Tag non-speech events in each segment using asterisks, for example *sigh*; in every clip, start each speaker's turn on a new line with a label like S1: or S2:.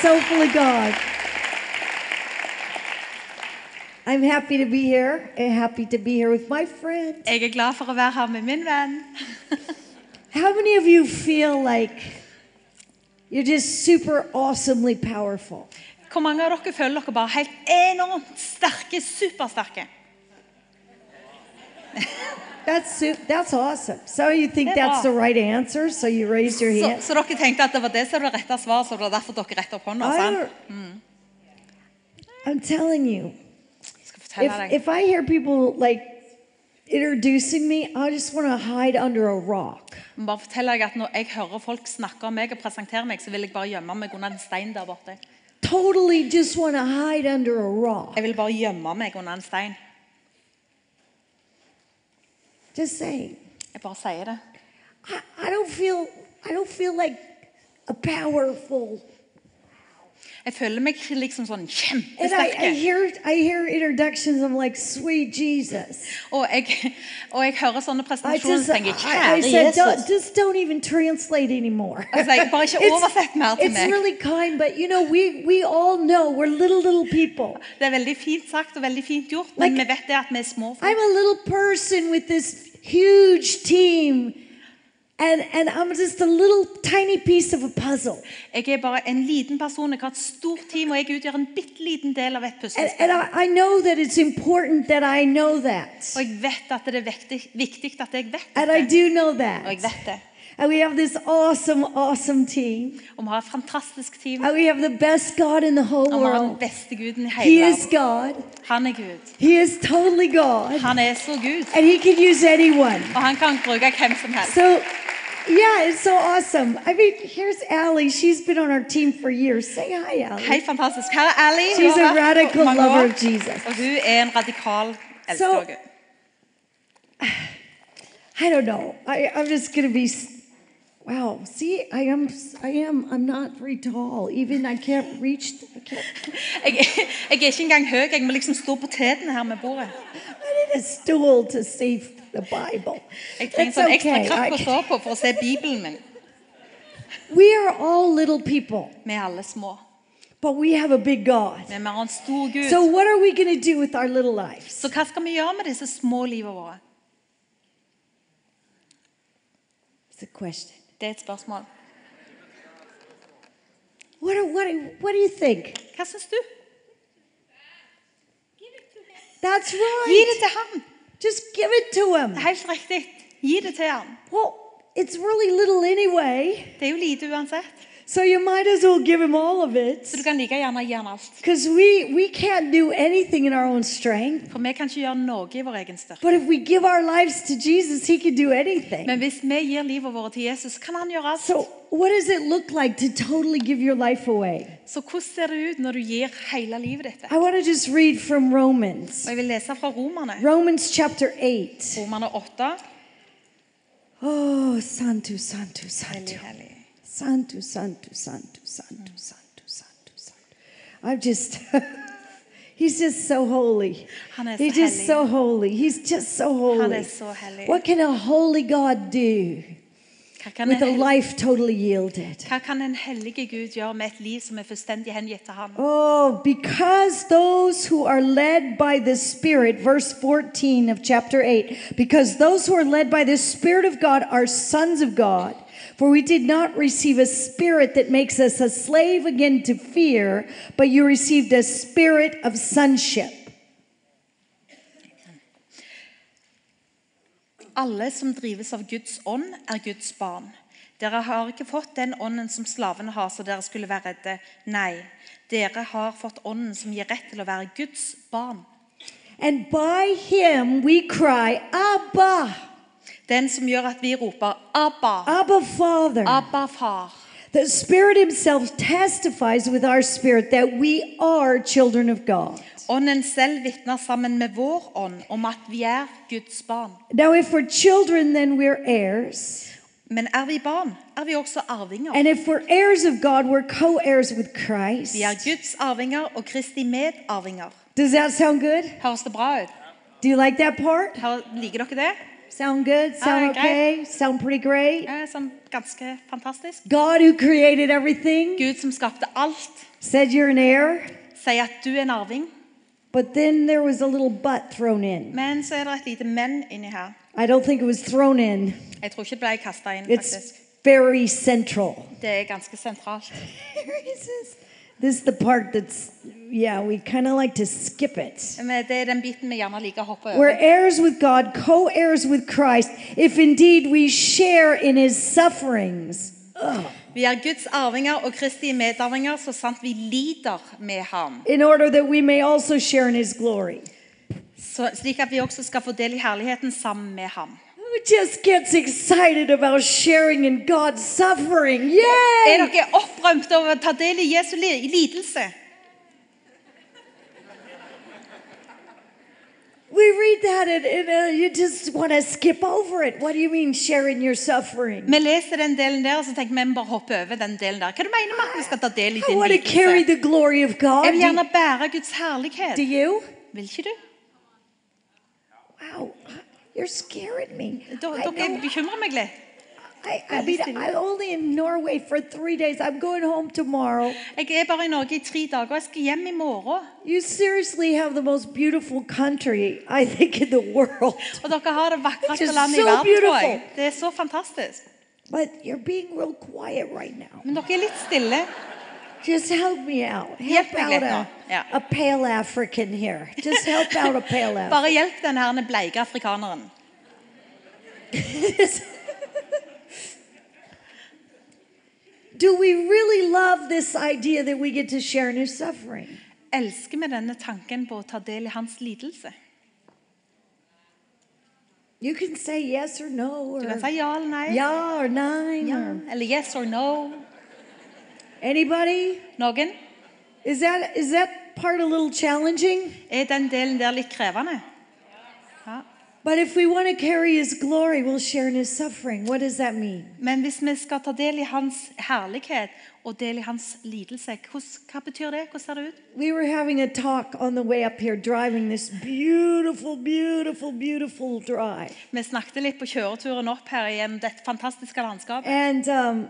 S1: so full of God. I'm happy to be here and happy to be here with my friend.
S2: Jeg er glad for å være her med min venn.
S1: How many of you feel like you're just super awesomely powerful?
S2: Hvor mange av dere føler dere bare helt enormt sterke, supersterke?
S1: That's su- that's awesome. So you think
S2: Yeah.
S1: that's the right answer, so you raise your
S2: Så,
S1: hand.
S2: så dere tenkte at det var det som var det rette svaret, så det var derfor dere rettet opp hånda?
S1: I
S2: sant?
S1: don't- I'm telling you,
S2: Jeg skal fortelle
S1: if
S2: deg.
S1: if I hear people like introducing me, I just want to hide under a rock.
S2: Jeg må Bare fortelle deg at Når jeg hører folk snakke om meg og presentere meg, så vil jeg bare gjemme meg under en stein der borte.
S1: Totally just want to hide under a rock.
S2: Jeg vil bare gjemme meg under en stein.
S1: Just saying.
S2: Jeg bare sier det.
S1: I, I don't feel I don't feel like a powerful
S2: Jeg føler meg liksom sånn
S1: and I, I
S2: kjempesterk.
S1: hear I hear introductions, I'm like, sweet Jesus.
S2: Og jeg, og jeg hører
S1: I
S2: sånne presentasjoner
S1: just
S2: og
S1: I,
S2: tenker
S1: I
S2: Kjære
S1: said
S2: Jesus.
S1: don't, just don't even translate anymore.
S2: was like, "Bara inte översätt mer till
S1: it's
S2: mig."
S1: really kind, but you know, we we all know we're little little people.
S2: Det er veldig fint sagt og veldig fint gjort, men
S1: Like-
S2: vi vet det at vi er små. folk.
S1: I'm a little person with this huge team. And, and I'm just a little tiny piece of a puzzle.
S2: Jeg er bare en liten person. Jeg har et stort team, og jeg utgjør en bitte liten del av et
S1: And,
S2: puslespill.
S1: and I, I know that it's important that I know that.
S2: Og jeg vet at det er viktig, viktig at jeg vet
S1: And I
S2: det.
S1: do know
S2: Og jeg
S1: that.
S2: vet det.
S1: And we have this awesome, awesome team.
S2: Og vi har et fantastisk team.
S1: And we have the best God in the whole
S2: Og vi har den
S1: world.
S2: beste guden i
S1: He
S2: hele
S1: is
S2: verden.
S1: God.
S2: Han er Gud.
S1: He is totally God.
S2: Han er så Gud.
S1: And He can use anyone.
S2: Og han kan bruke hvem som helst.
S1: So, yeah, it's so awesome. I mean, here's Allie. She's been on our team for years. Say hi, Allie.
S2: Helt fantastisk. Her er Ali. Hun
S1: She's a
S2: har vært på
S1: radical
S2: mange
S1: lover
S2: år,
S1: of Jesus.
S2: Og hun er en radikal elsker
S1: So-
S2: Gud.
S1: I don't know. I, I'm just gonna be. s- Wow. See, I am. s- I am. I'm not very tall. Even I can't reach. I, can't,
S2: Jeg, jeg er ikke engang høy. Jeg må liksom stå på tærne her med bordet.
S1: I need a stool to see the Bible.
S2: Jeg trenger
S1: That's
S2: sånn ekstra
S1: okay.
S2: kraft å
S1: I-
S2: stå på for å se Bibelen min.
S1: we are all little people,
S2: Vi er alle små.
S1: but we have a big God.
S2: Men vi har en stor Gud.
S1: So what are we gonna do with our little lives?
S2: så hva skal vi gjøre med disse små livene våre?
S1: It's a question.
S2: Det er et spørsmål.
S1: What? Are, what? Are, what do you think?
S2: Hva syns du?
S1: That's
S2: Gi det
S1: right.
S2: til ham.
S1: Just give it to
S2: Det
S1: him.
S2: er Helt riktig. Gi det til ham.
S1: Well, it's really little anyway,
S2: Det er jo lite uansett.
S1: so you might as well give him all of it.
S2: Så du kan like gjerne gi ham alt.
S1: Because we, we can't do anything in our own strength.
S2: For vi kan ikke gjøre noe i vår egen styrke.
S1: But if we give our lives to Jesus, He can do anything.
S2: Men hvis vi gir livet vårt til Jesus, kan han gjøre alt.
S1: So, what does it look like to totally give your life away?
S2: Så hvordan ser det ut når du gir hele livet ditt? vekk?
S1: I want to just read from Romans.
S2: Og jeg vil lese fra Romerne.
S1: Romans chapter 8.
S2: Romerne 8.
S1: Oh, Santo, Santo, Santo.
S2: Hellig, hellig.
S1: Santo, Santo, Santo, Santo, Santo, Santo, Santo. I'm just, *laughs* he's just so holy.
S2: Han är
S1: He's
S2: så
S1: just
S2: härlig.
S1: so holy. He's just so
S2: är
S1: holy.
S2: så härlig.
S1: What can a holy God do
S2: Hva kan
S1: with
S2: en
S1: a
S2: hel-
S1: life totally yielded?
S2: Hva kan en hellige Gud gjøre med et liv som er fullstendig hengitt til ham?
S1: Oh, because those who are led by the Spirit, verse 14 of chapter 8, because those who are led by the Spirit of God are sons of God. For we did not receive a spirit that makes us a slave again to fear, but you received a spirit of sonship.
S2: Alle som drives av Guds ånd, er Guds barn. Dere har ikke fått den ånden som slavene har, så dere skulle være redde. Nei, dere har fått ånden som gir rett til å være Guds barn.
S1: And by him we cry, Abba,
S2: Den som gjør at vi roper 'Abba',
S1: Abba Father.
S2: 'Abba, far'.
S1: The Spirit himself testifies with our spirit that we are children of God.
S2: Ånden selv vitner sammen med vår ånd om at vi er Guds barn.
S1: Now, if we're children, then we're heirs.
S2: Men er vi barn, er vi også arvinger.
S1: And if we're heirs of God, we're co heirs with Christ.
S2: Vi er Guds arvinger og Kristi medarvinger.
S1: Does that sound good?
S2: Høres det bra ut?
S1: Do you like that part?
S2: Her- Liker dere det?
S1: Sound good? Sound
S2: Alright,
S1: okay? Sound pretty great?
S2: Eh, Sånn ganske fantastisk.
S1: God, who created everything,
S2: Gud som skapte alt,
S1: said you're an heir,
S2: sier at du er en arving.
S1: but then there was a little but thrown in.
S2: Men så er det et lite men inni her.
S1: I don't think it was thrown in,
S2: Jeg tror ikke det ble kasta inn,
S1: it's
S2: faktisk.
S1: very
S2: *laughs*
S1: central.
S2: Det er ganske sentralt.
S1: this is- this is the part that's, yeah, we kind of like to skip it.
S2: Men det er den biten vi gjerne liker å hoppe over.
S1: We're heirs with God, co heirs with Christ, if indeed we share in his sufferings. Ugh.
S2: Vi er Guds arvinger og Kristi medarvinger, så sant vi lider med ham.
S1: In order that we may also share in his glory.
S2: Så, slik at vi også skal få del i herligheten sammen med ham.
S1: Who just gets excited about sharing in God's suffering?
S2: Er
S1: Yay!
S2: dere opprømt over å ta del i Jesu li- lidelse?
S1: We read that and, and uh, you just want to skip over it. What do you mean, sharing your suffering?
S2: Vi leser den delen der, og så tenker vi vi må bare hoppe over den delen der. Hva du mener med at vi skal ta del i
S1: I
S2: din
S1: want to carry
S2: lidelse?
S1: the glory of God.
S2: Jeg vil
S1: Do,
S2: gjerne bære Guds
S1: do
S2: herlighet.
S1: you?
S2: Vil ikke du?
S1: Wow, you're scaring me.
S2: D-
S1: I
S2: Dere
S1: know
S2: bekymrer meg litt.
S1: I, I mean, I'm only in Norway for three days. I'm going home tomorrow.
S2: Jeg er bare i Norge i tre dager. Jeg skal hjem i morgen.
S1: You seriously have the most beautiful country, I think, in the world.
S2: Og dere har det
S1: Which
S2: vakreste
S1: is
S2: landet i
S1: so
S2: verden, tror jeg.
S1: beautiful.
S2: Det er så fantastisk.
S1: But you're being real quiet right now.
S2: Men dere er litt stille.
S1: Just help me out.
S2: Help
S1: Help
S2: me
S1: out
S2: get
S1: a,
S2: up. Yeah.
S1: a pale African here. Just help out a pale African.
S2: Bare hjelp den her bleike afrikaneren.
S1: *laughs* Do we really love this idea that we get to share in his suffering?
S2: Elsker vi denne tanken på å ta del i hans lidelse?
S1: You can say yes or no,
S2: Du kan
S1: or
S2: si ja eller nei.
S1: yeah or nine,
S2: Ja.
S1: or
S2: Eller yes or no.
S1: anybody.
S2: Noen
S1: Is that is that part a little challenging?
S2: er den delen der litt krevende. Ja.
S1: But if we want to carry his glory, we'll share in his suffering. What does that mean?
S2: Men hvis vi skal ta del i hans herlighet og del i hans lidelse, hvordan, hva betyr det? Hvordan ser det ut?
S1: We were having a talk on the way up here, driving this beautiful, beautiful, beautiful drive.
S2: Vi snakket litt på kjøreturen opp her gjennom dette fantastiske landskapet.
S1: And um,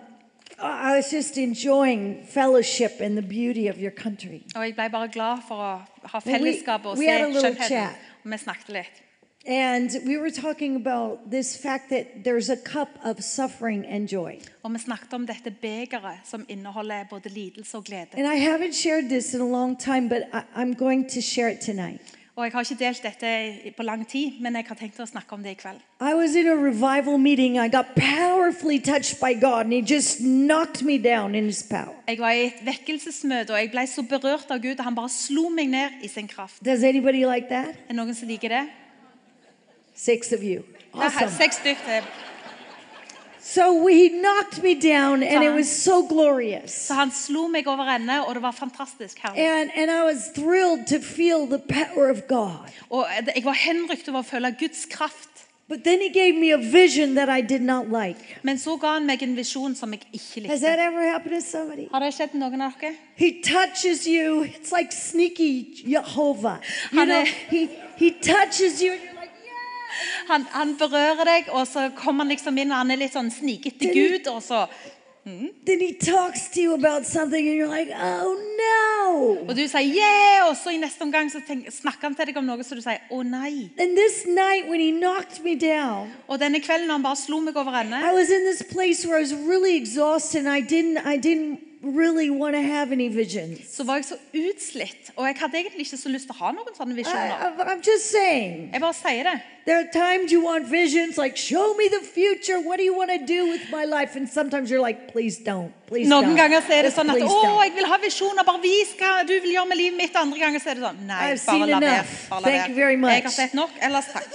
S1: I I was just enjoying fellowship and the beauty of your country.
S2: Og jeg ble bare glad for å ha
S1: Well, we-
S2: fellesskap og
S1: we
S2: se
S1: had a little
S2: skjønnheten.
S1: chat.
S2: Og vi snakket litt.
S1: And we were talking about this fact that there's a cup of suffering and joy.
S2: Og vi snakket om dette begeret som inneholder både lidelse og glede.
S1: And I haven't shared this in a long time, but I, I'm going to share it tonight.
S2: Og jeg har ikke delt dette i- på lang tid, men jeg har tenkt å snakke om det i kveld.
S1: I was in a revival meeting. I got powerfully touched by God, and He just knocked me down in His power.
S2: Jeg var i et vekkelsesmøte, og jeg ble så berørt av Gud, og han bare slo meg ned i sin kraft.
S1: Does anybody like that?
S2: Er det noen som liker det?
S1: Six of you.
S2: Det er her-
S1: Awesome.
S2: seks stykker.
S1: So we, He knocked me down, and it was so glorious.
S2: Så han slo meg over ende, og det var fantastisk herlig.
S1: And, and I was thrilled to feel the power of God.
S2: Og jeg var henrykt over å føle Guds kraft.
S1: But then He gave me a vision that I did not like.
S2: Men så ga han meg en visjon som jeg ikke
S1: Has that
S2: likte.
S1: ever happened to somebody?
S2: Har det skjedd med noen av dere?
S1: He touches you. It's like sneaky Jehovah. You
S2: Honey.
S1: know, he, he touches you, and you're like, yeah.
S2: Han, han berører deg, og så kommer han liksom inn, og han er litt sånn snikete Gud, og så
S1: Then he talks to you about something and you're like, oh no.
S2: Og du sier 'yeah', og så i neste omgang så tenk, snakker han til deg om noe, så du sier 'å nei'.
S1: And this night when he knocked me down,
S2: Og denne kvelden når han bare slo meg over ende,
S1: I was in this place where I was really exhausted and I didn't I didn't really want to have any visions.
S2: så var jeg så utslitt. Og jeg hadde egentlig ikke så lyst til å ha noen sånne visjoner.
S1: I, I, I'm just saying.
S2: Jeg bare sier det.
S1: There are times you want visions like show me the future. What do you want to do with my life? And sometimes you're like, please don't. Please
S2: Noen
S1: don't.
S2: ganger så er det
S1: Just
S2: sånn at
S1: please
S2: 'Å,
S1: don't."
S2: jeg vil ha visjoner. Bare vis hva du vil gjøre med livet mitt.' Andre ganger så er det sånn 'Nei,
S1: I've
S2: bare
S1: seen
S2: la være'.
S1: enough.
S2: Bare la
S1: Thank you very
S2: være.
S1: much.
S2: Jeg har sett nok. Ellers takk.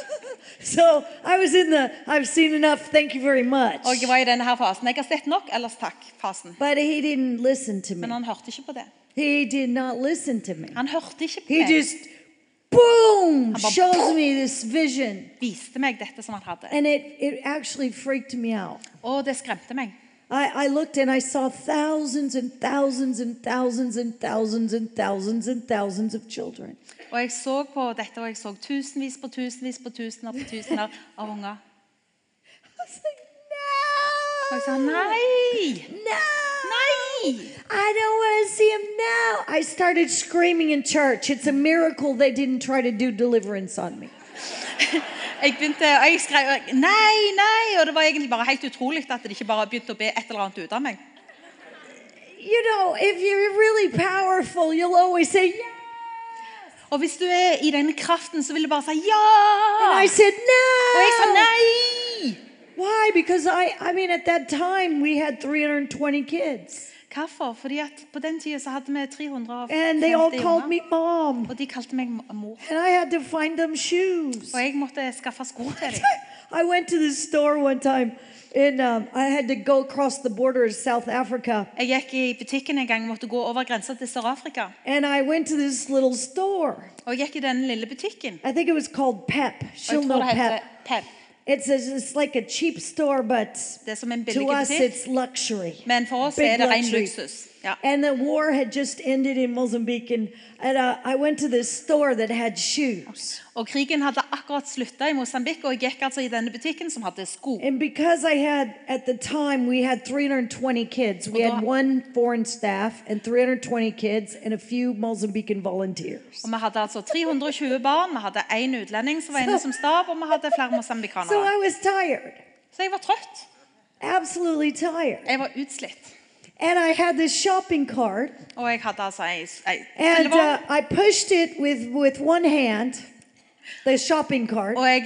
S1: So I was in the I've seen enough. Thank you very much.
S2: Og jeg var i denne her fasen. 'Jeg har sett nok. Ellers takk'-fasen.
S1: But he didn't listen to
S2: Men
S1: me.
S2: han hørte ikke på det.
S1: He did not listen to me.
S2: Han hørte ikke på
S1: He
S2: meg.
S1: just boom
S2: How about
S1: shows me this vision
S2: Viste meg dette som han hadde.
S1: and it it actually freaked me out.
S2: Og det skremte meg.
S1: I, I looked and I saw thousands and thousands and thousands and thousands and thousands and thousands of children.
S2: Og jeg så på dette, og jeg så tusenvis på tusenvis på tusener på tusener av unger.
S1: was like,
S2: Og
S1: no,
S2: jeg sa nei!
S1: no,
S2: Nei! *laughs*
S1: I don't want to see him now. I started screaming in church. It's a miracle they didn't try to do deliverance on me.
S2: Jeg begynte, og jeg skrev og jeg, nei, nei, og det var egentlig bare helt utrolig at de ikke bare begynte å be et eller annet ut av meg.
S1: You know, if you're really powerful, you'll always say, yeah.
S2: Og hvis du er i den kraften, så vil du bare si
S1: And I
S2: ja!
S1: said,
S2: Og jeg sa
S1: no.
S2: nei!
S1: Why? Because I, I mean, at that time we had 320 kids,
S2: Hvorfor? Fordi at på den tida så hadde vi 350
S1: and Eh, they all called
S2: unger.
S1: me mom,
S2: Og de kalte meg m- mor.
S1: and I had to find them shoes.
S2: Og jeg måtte skaffe sko til dem.
S1: I went to the store one time, and um, I had to go across the border to South Africa,
S2: Jeg gikk i butikken en gang og måtte gå over grensa til Sør-Afrika.
S1: and I went to this little store.
S2: Og jeg gikk i den lille butikken.
S1: I think it was called Pep.
S2: Og
S1: She'll
S2: jeg
S1: know
S2: tror det heter
S1: Pep.
S2: Pep.
S1: It's a, it's like a cheap store, but
S2: Det er som en
S1: to
S2: billig
S1: us
S2: butikk.
S1: it's luxury.
S2: Men for oss
S1: Big
S2: er det ren
S1: luxury.
S2: luksus. Ja.
S1: And the war had just ended in Mozambique, and, and uh, I went to this store that had shoes.
S2: Og krigen hadde akkurat slutta i Mosambik, og jeg gikk altså i denne butikken som hadde sko.
S1: And because I had, at the time, we had 320 kids. We had
S2: Although-
S1: one foreign staff and 320 kids and a few Mozambican volunteers.
S2: Og vi hadde altså 320 barn, vi hadde én utlending som var inne som stab, og vi hadde flere
S1: So
S2: mosambikanere.
S1: I was tired,
S2: Så jeg var trøtt.
S1: absolutely tired.
S2: Jeg var utslitt.
S1: And I had this shopping cart,
S2: Og jeg hadde altså ei, ei
S1: and uh,
S2: spillevogn,
S1: I pushed it with, with one hand, the shopping cart.
S2: og eh,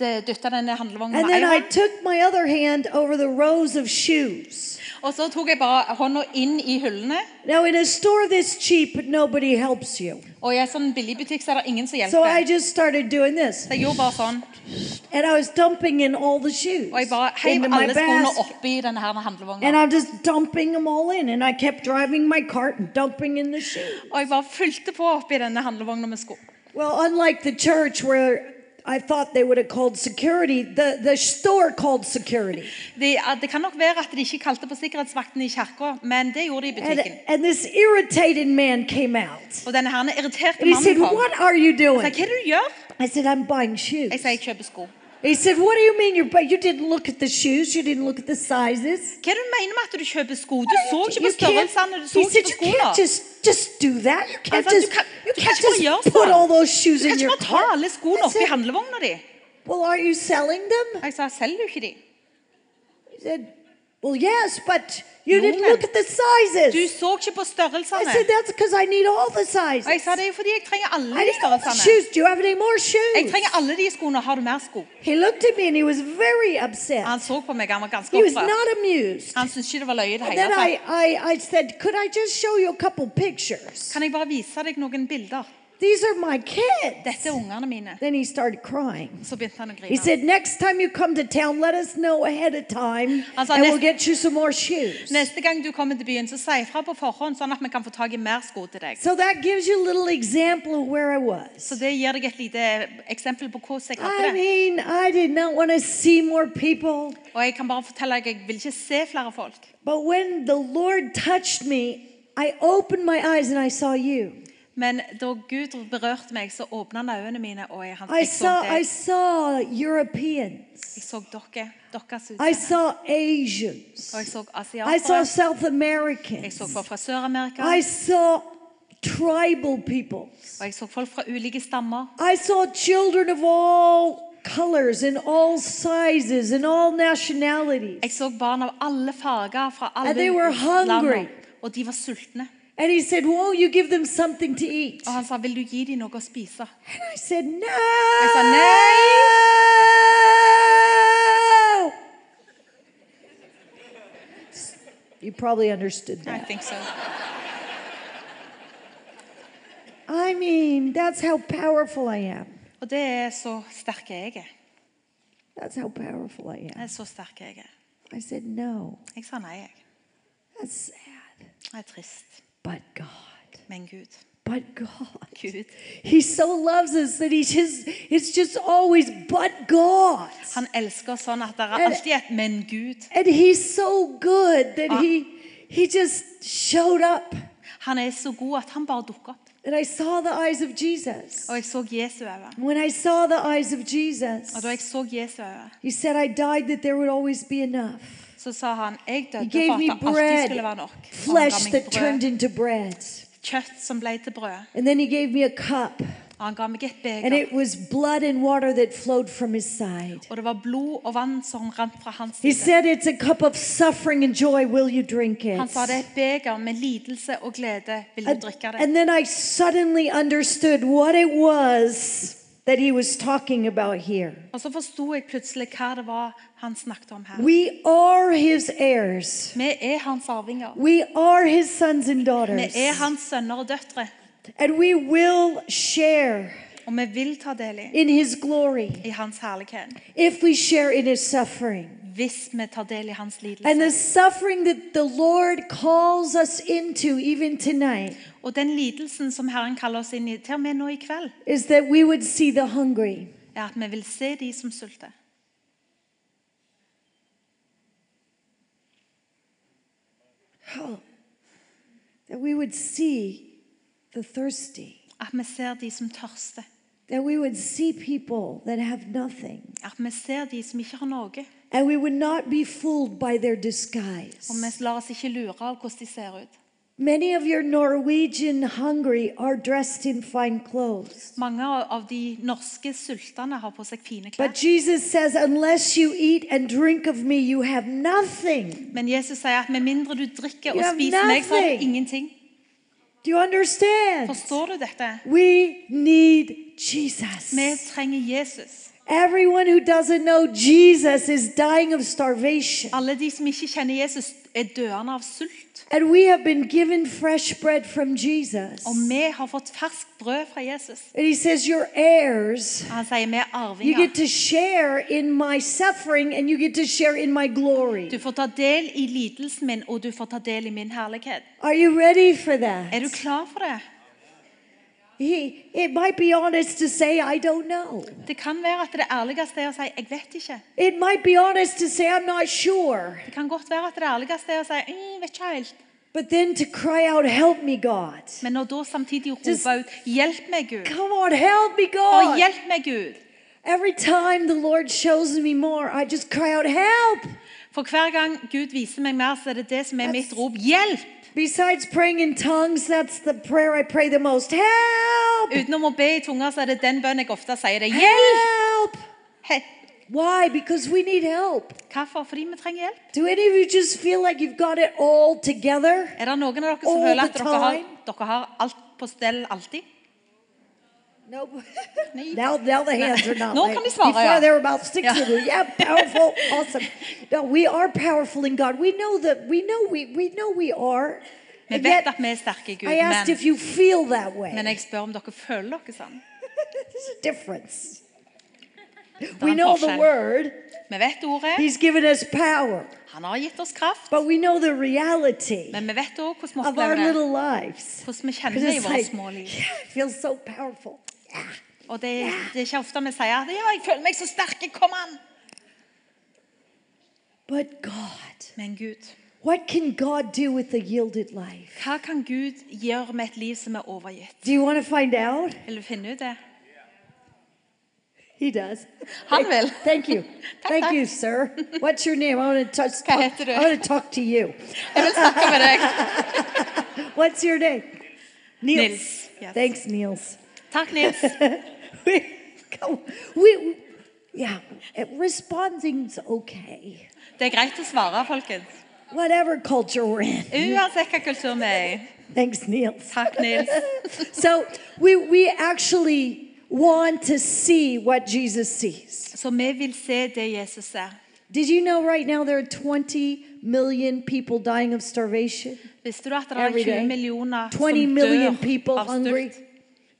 S2: jeg dytta denne handlevognen
S1: And
S2: med
S1: then Mm-hmm.
S2: ei
S1: I
S2: hånd.
S1: took my other hand over the rows of shoes.
S2: Og så tok jeg bare hånda inn i hyllene.
S1: Now, in a store this cheap, nobody helps you.
S2: Og i en sånn billigbutikk så er det ingen
S1: So
S2: som
S1: I
S2: hjelper.
S1: just started doing this.
S2: Så jeg gjorde bare sånn.
S1: And I was dumping in all the shoes
S2: Og jeg bare heiv
S1: into my
S2: alle skoene
S1: basket.
S2: oppi denne her
S1: And
S2: handlevogna.
S1: I'm just dumping them all in. And I kept driving my cart and dumping in the shoes.
S2: Og jeg bare fylte på oppi denne handlevogna med sko.
S1: Well, unlike the church where I thought they would have called security, the, the store called *laughs* security.
S2: De, det kan nok være at de ikke kalte på sikkerhetsvakten i kirka, men det gjorde de i
S1: And,
S2: butikken.
S1: and this irritated man came out.
S2: Og denne her irriterte
S1: And he said,
S2: mannen kom.
S1: What are you
S2: Jeg sa,
S1: doing?
S2: hva er det du gjør?
S1: I said, I'm buying shoes.
S2: Jeg sa, jeg kjøper sko. Hva
S1: He said, What do you mean you're but you didn't look at the shoes, you didn't look at the sizes?
S2: er det du mener med at du kjøper sko? Du så ikke
S1: You
S2: på
S1: can't,
S2: størrelsene, du så
S1: he said,
S2: ikke
S1: you
S2: på skoene.
S1: can't just just do that. You can't
S2: I thought you
S1: just
S2: can't-
S1: you
S2: you
S1: can't
S2: can't just
S1: just
S2: go
S1: put
S2: yourself.
S1: all those shoes
S2: Du
S1: in
S2: kan
S1: your
S2: ikke bare ta
S1: car.
S2: alle skoene
S1: I
S2: oppi
S1: said,
S2: handlevogna di.
S1: Well, are you selling them?
S2: Jeg sa, selger du ikke de?
S1: He said, Well, yes, but you
S2: Jo,
S1: didn't
S2: men-
S1: look at the
S2: Du
S1: sizes.
S2: så ikke på
S1: I
S2: størrelsene.
S1: said, That's because I need all the
S2: Og jeg
S1: sizes.
S2: sa, det er jo fordi jeg trenger alle
S1: I
S2: de
S1: need all the
S2: størrelsene.
S1: shoes. Do you have any more
S2: Jeg
S1: shoes?
S2: trenger alle de skoene. Har du mer sko?
S1: He looked at me and he was very upset.
S2: Han så på meg, han var ganske
S1: He was
S2: opprørt.
S1: not amused.
S2: Han syntes ikke det var løye i det
S1: And
S2: hele
S1: then
S2: tatt.
S1: I, I, I said, Could I just show you a couple pictures?
S2: Kan jeg bare vise deg noen bilder?
S1: These are my kids.
S2: Dette er ungene mine.
S1: Then he started crying.
S2: Så begynte han å
S1: He
S2: grine.
S1: said, Next time you come to town, let us know ahead of time,
S2: I was
S1: and
S2: like,
S1: we'll
S2: "Next-
S1: get you some more shoes.
S2: Neste gang du kommer til byen, så si ifra på forhånd, sånn at vi kan få tak i mer sko til deg.
S1: So that gives you a little example of where I
S2: Så
S1: was.
S2: det gir deg et lite eksempel på hvordan jeg
S1: I
S2: hadde det.
S1: mean, I did not want to see more people,
S2: Og jeg kan bare fortelle deg, jeg vil ikke se flere folk.
S1: but when the Lord touched me, I opened my eyes and I saw you.
S2: Men da Gud berørte meg, så åpna han øynene mine, og jeg, han,
S1: I
S2: jeg så
S1: saw, I
S2: deg.
S1: saw Europeans.
S2: Jeg så dere, deres
S1: I
S2: utseende.
S1: saw Asians.
S2: Og jeg så
S1: I saw
S2: asiatere.
S1: South
S2: Jeg
S1: Americans.
S2: så folk fra Sør-Amerika.
S1: I saw tribal peoples.
S2: Og jeg så folk fra ulike stammer.
S1: I saw children of all colors and all sizes and all
S2: Jeg
S1: nationalities.
S2: så barn av alle farger fra alle
S1: And they were hungry.
S2: land, Og de var sultne.
S1: And he said, Won't you give them something to eat?
S2: Og han sa, vil du gi dem noe å spise?
S1: And I said, No.
S2: said,
S1: You probably understood
S2: I
S1: that.
S2: think so.
S1: I mean, that's how powerful I am.
S2: Og det er så sterk jeg er.
S1: That's how powerful I
S2: Jeg
S1: am.
S2: er så sterk jeg er.
S1: I said, No.
S2: Jeg sa nei, jeg.
S1: That's sad.
S2: Jeg er trist.
S1: But God.
S2: Men Gud.
S1: But God.
S2: Gud.
S1: He so loves us that he just it's just always but God.
S2: Han elsker oss sånn at det er
S1: Er-
S2: alltid et 'men Gud'.
S1: And he's so good that he he just showed up.
S2: Han er så god at han bare dukker opp.
S1: And I saw the eyes of Jesus.
S2: Og jeg så Jesu øyne.
S1: When I saw the eyes of Jesus,
S2: Og da jeg så Jesu øyne,
S1: he said, I died that there would always be enough.
S2: så sa han Jeg
S1: He
S2: døde for
S1: gave
S2: at det
S1: me
S2: alltid skulle være
S1: bread,
S2: nok. Og han
S1: flesh
S2: ga meg
S1: that turned
S2: brød,
S1: into bread.
S2: kjøtt som ble til brød.
S1: And then he gave me a cup,
S2: Og han ga meg et
S1: and
S2: beger.
S1: it was blood and water that flowed from his side.
S2: Og det var blod og vann som rant fra hans
S1: He
S2: side.
S1: said, It's a cup of suffering and joy. Will you drink it?
S2: Han sa det er et beger med lidelse og glede. Vil du
S1: And,
S2: drikke det?
S1: and then I suddenly understood what it was that he was talking about here.
S2: Og så forsto jeg plutselig hva det var han snakket om her.
S1: We are his heirs,
S2: Vi er hans arvinger.
S1: we are his sons and
S2: Vi
S1: daughters,
S2: er hans sønner og døtre.
S1: and we will share
S2: Og vi vil ta del i,
S1: in his glory
S2: i hans herlighet
S1: if we share in his suffering.
S2: hvis vi tar del i hans
S1: And the
S2: lidelse.
S1: suffering that the Lord calls us into, even tonight,
S2: Og den lidelsen som Herren kaller oss inn i, til og med nå i kveld,
S1: is that we would see the hungry,
S2: er at vi vil se de som sulter.
S1: that we would see the thirsty.
S2: At vi ser de som tørster.
S1: that we would see people that have nothing
S2: At vi ser de som ikke har noe.
S1: and we would not be fooled by their
S2: Og vi
S1: disguise.
S2: lar oss ikke lure av hvordan de ser ut.
S1: Many of your Norwegian hungry are dressed in fine clothes.
S2: Mange av de norske sultene har på seg fine
S1: But
S2: klær.
S1: Jesus says, unless you eat and drink of me, you have nothing.
S2: Men Jesus sier at med mindre du drikker og
S1: You have
S2: spiser meg, så har du
S1: nothing.
S2: ingenting.
S1: Do you understand?
S2: Forstår du dette?
S1: We need
S2: Vi
S1: Jesus.
S2: trenger Jesus.
S1: Everyone who doesn't know Jesus is dying of starvation.
S2: Alle de som ikke kjenner Jesus, er døende av sult.
S1: And we have been given fresh bread from Jesus.
S2: Og vi har fått ferskt brød fra Jesus.
S1: And he says, You're heirs.
S2: Han sier vi er
S1: You get
S2: arvinger.
S1: to share in my suffering and you get to share in my
S2: Du
S1: glory.
S2: får ta del i lidelsen min, og du får ta del i min herlighet.
S1: Are you ready for
S2: Er du
S1: that?
S2: klar for det?
S1: He, it might be honest to say, I don't know.
S2: Det kan være at det ærligste er å si 'jeg vet ikke'.
S1: It might be honest to say, I'm not sure.
S2: Det kan godt være at det ærligste er å si «Mm, 'vet ikke helt'.
S1: But then to cry out, Help me, God.
S2: Men når da samtidig
S1: Just-
S2: roper ut 'hjelp meg, Gud'.
S1: Come on, help me,
S2: Og
S1: God.
S2: hjelp meg, Gud.
S1: Every time the Lord shows me more, I just cry out, Help.
S2: For hver gang Gud viser meg mer, så er det det som er mitt rop 'hjelp'.
S1: Besides praying in tongues, that's the prayer I pray the most. Help.
S2: Utenom å be i tunga, så er det den bønnen jeg ofte sier det. 'Hjelp'!
S1: Help.
S2: Hei.
S1: Why? Because we need help.
S2: Hvorfor? Fordi vi trenger hjelp.
S1: Do any of you just feel like you've got it all together?
S2: Er det noen av dere som
S1: All
S2: føler
S1: the
S2: at dere har,
S1: time.
S2: dere har alt på stell alltid?
S1: Nope.
S2: Nei.
S1: now, now the hands are not.
S2: No,
S1: like-
S2: kan vi svara,
S1: Before
S2: ja.
S1: there were about six
S2: Ja.
S1: of you. Yeah, powerful, awesome. No, we are powerful in God. We know that. We know we. We know we are.
S2: Vi
S1: And
S2: vet
S1: yet,
S2: at vi er sterke i Gud,
S1: I asked if
S2: men,
S1: you feel that way.
S2: men jeg spør om dere føler dere sånn.
S1: There's a difference.
S2: er
S1: We
S2: en
S1: know the
S2: forskjell.
S1: word.
S2: Vi vet ordet,
S1: He's given us power,
S2: han har gitt oss kraft,
S1: but we know the reality
S2: men vi vet òg hvordan vi
S1: of our
S2: opplever det.
S1: little lives.
S2: Hvordan vi
S1: Because
S2: kjenner det i
S1: it's
S2: våre
S1: like,
S2: små liv.
S1: *laughs* yeah, it feels so powerful. Yeah.
S2: Og det, det er ikke ofte vi sier at 'ja, jeg føler meg så sterk, jeg kom an'.
S1: But God.
S2: Men Gud,
S1: What can God do with a yielded life?
S2: hva kan Gud gjøre med et liv som er overgitt?
S1: Do you want to find out?
S2: Vil du finne ut det?
S1: He does.
S2: Han vil.
S1: Thank *laughs* you.
S2: Takk,
S1: Thank
S2: takk.
S1: you, sir. What's your name? I want to touch,
S2: Hva heter du?
S1: I want to talk to you.
S2: Jeg vil snakke med deg.
S1: What's your name? Niels.
S2: Nils, yes.
S1: Thanks, Niels. *laughs*
S2: Takk, Nils.
S1: we, go- we, yeah, it- responding's okay.
S2: Det er greit å svare, folkens.
S1: Whatever culture we're in.
S2: Uansett hva kultur vi er i.
S1: Thanks, Niels.
S2: Takk, Nils.
S1: so we, we actually want to see what Jesus sees.
S2: Så vi vil se det Jesus ser.
S1: Did you know right now there are 20 million people dying of starvation?
S2: Visste du at det er
S1: Every
S2: 20
S1: day.
S2: millioner
S1: 20 million
S2: som
S1: people
S2: dør av
S1: hungry,
S2: sult?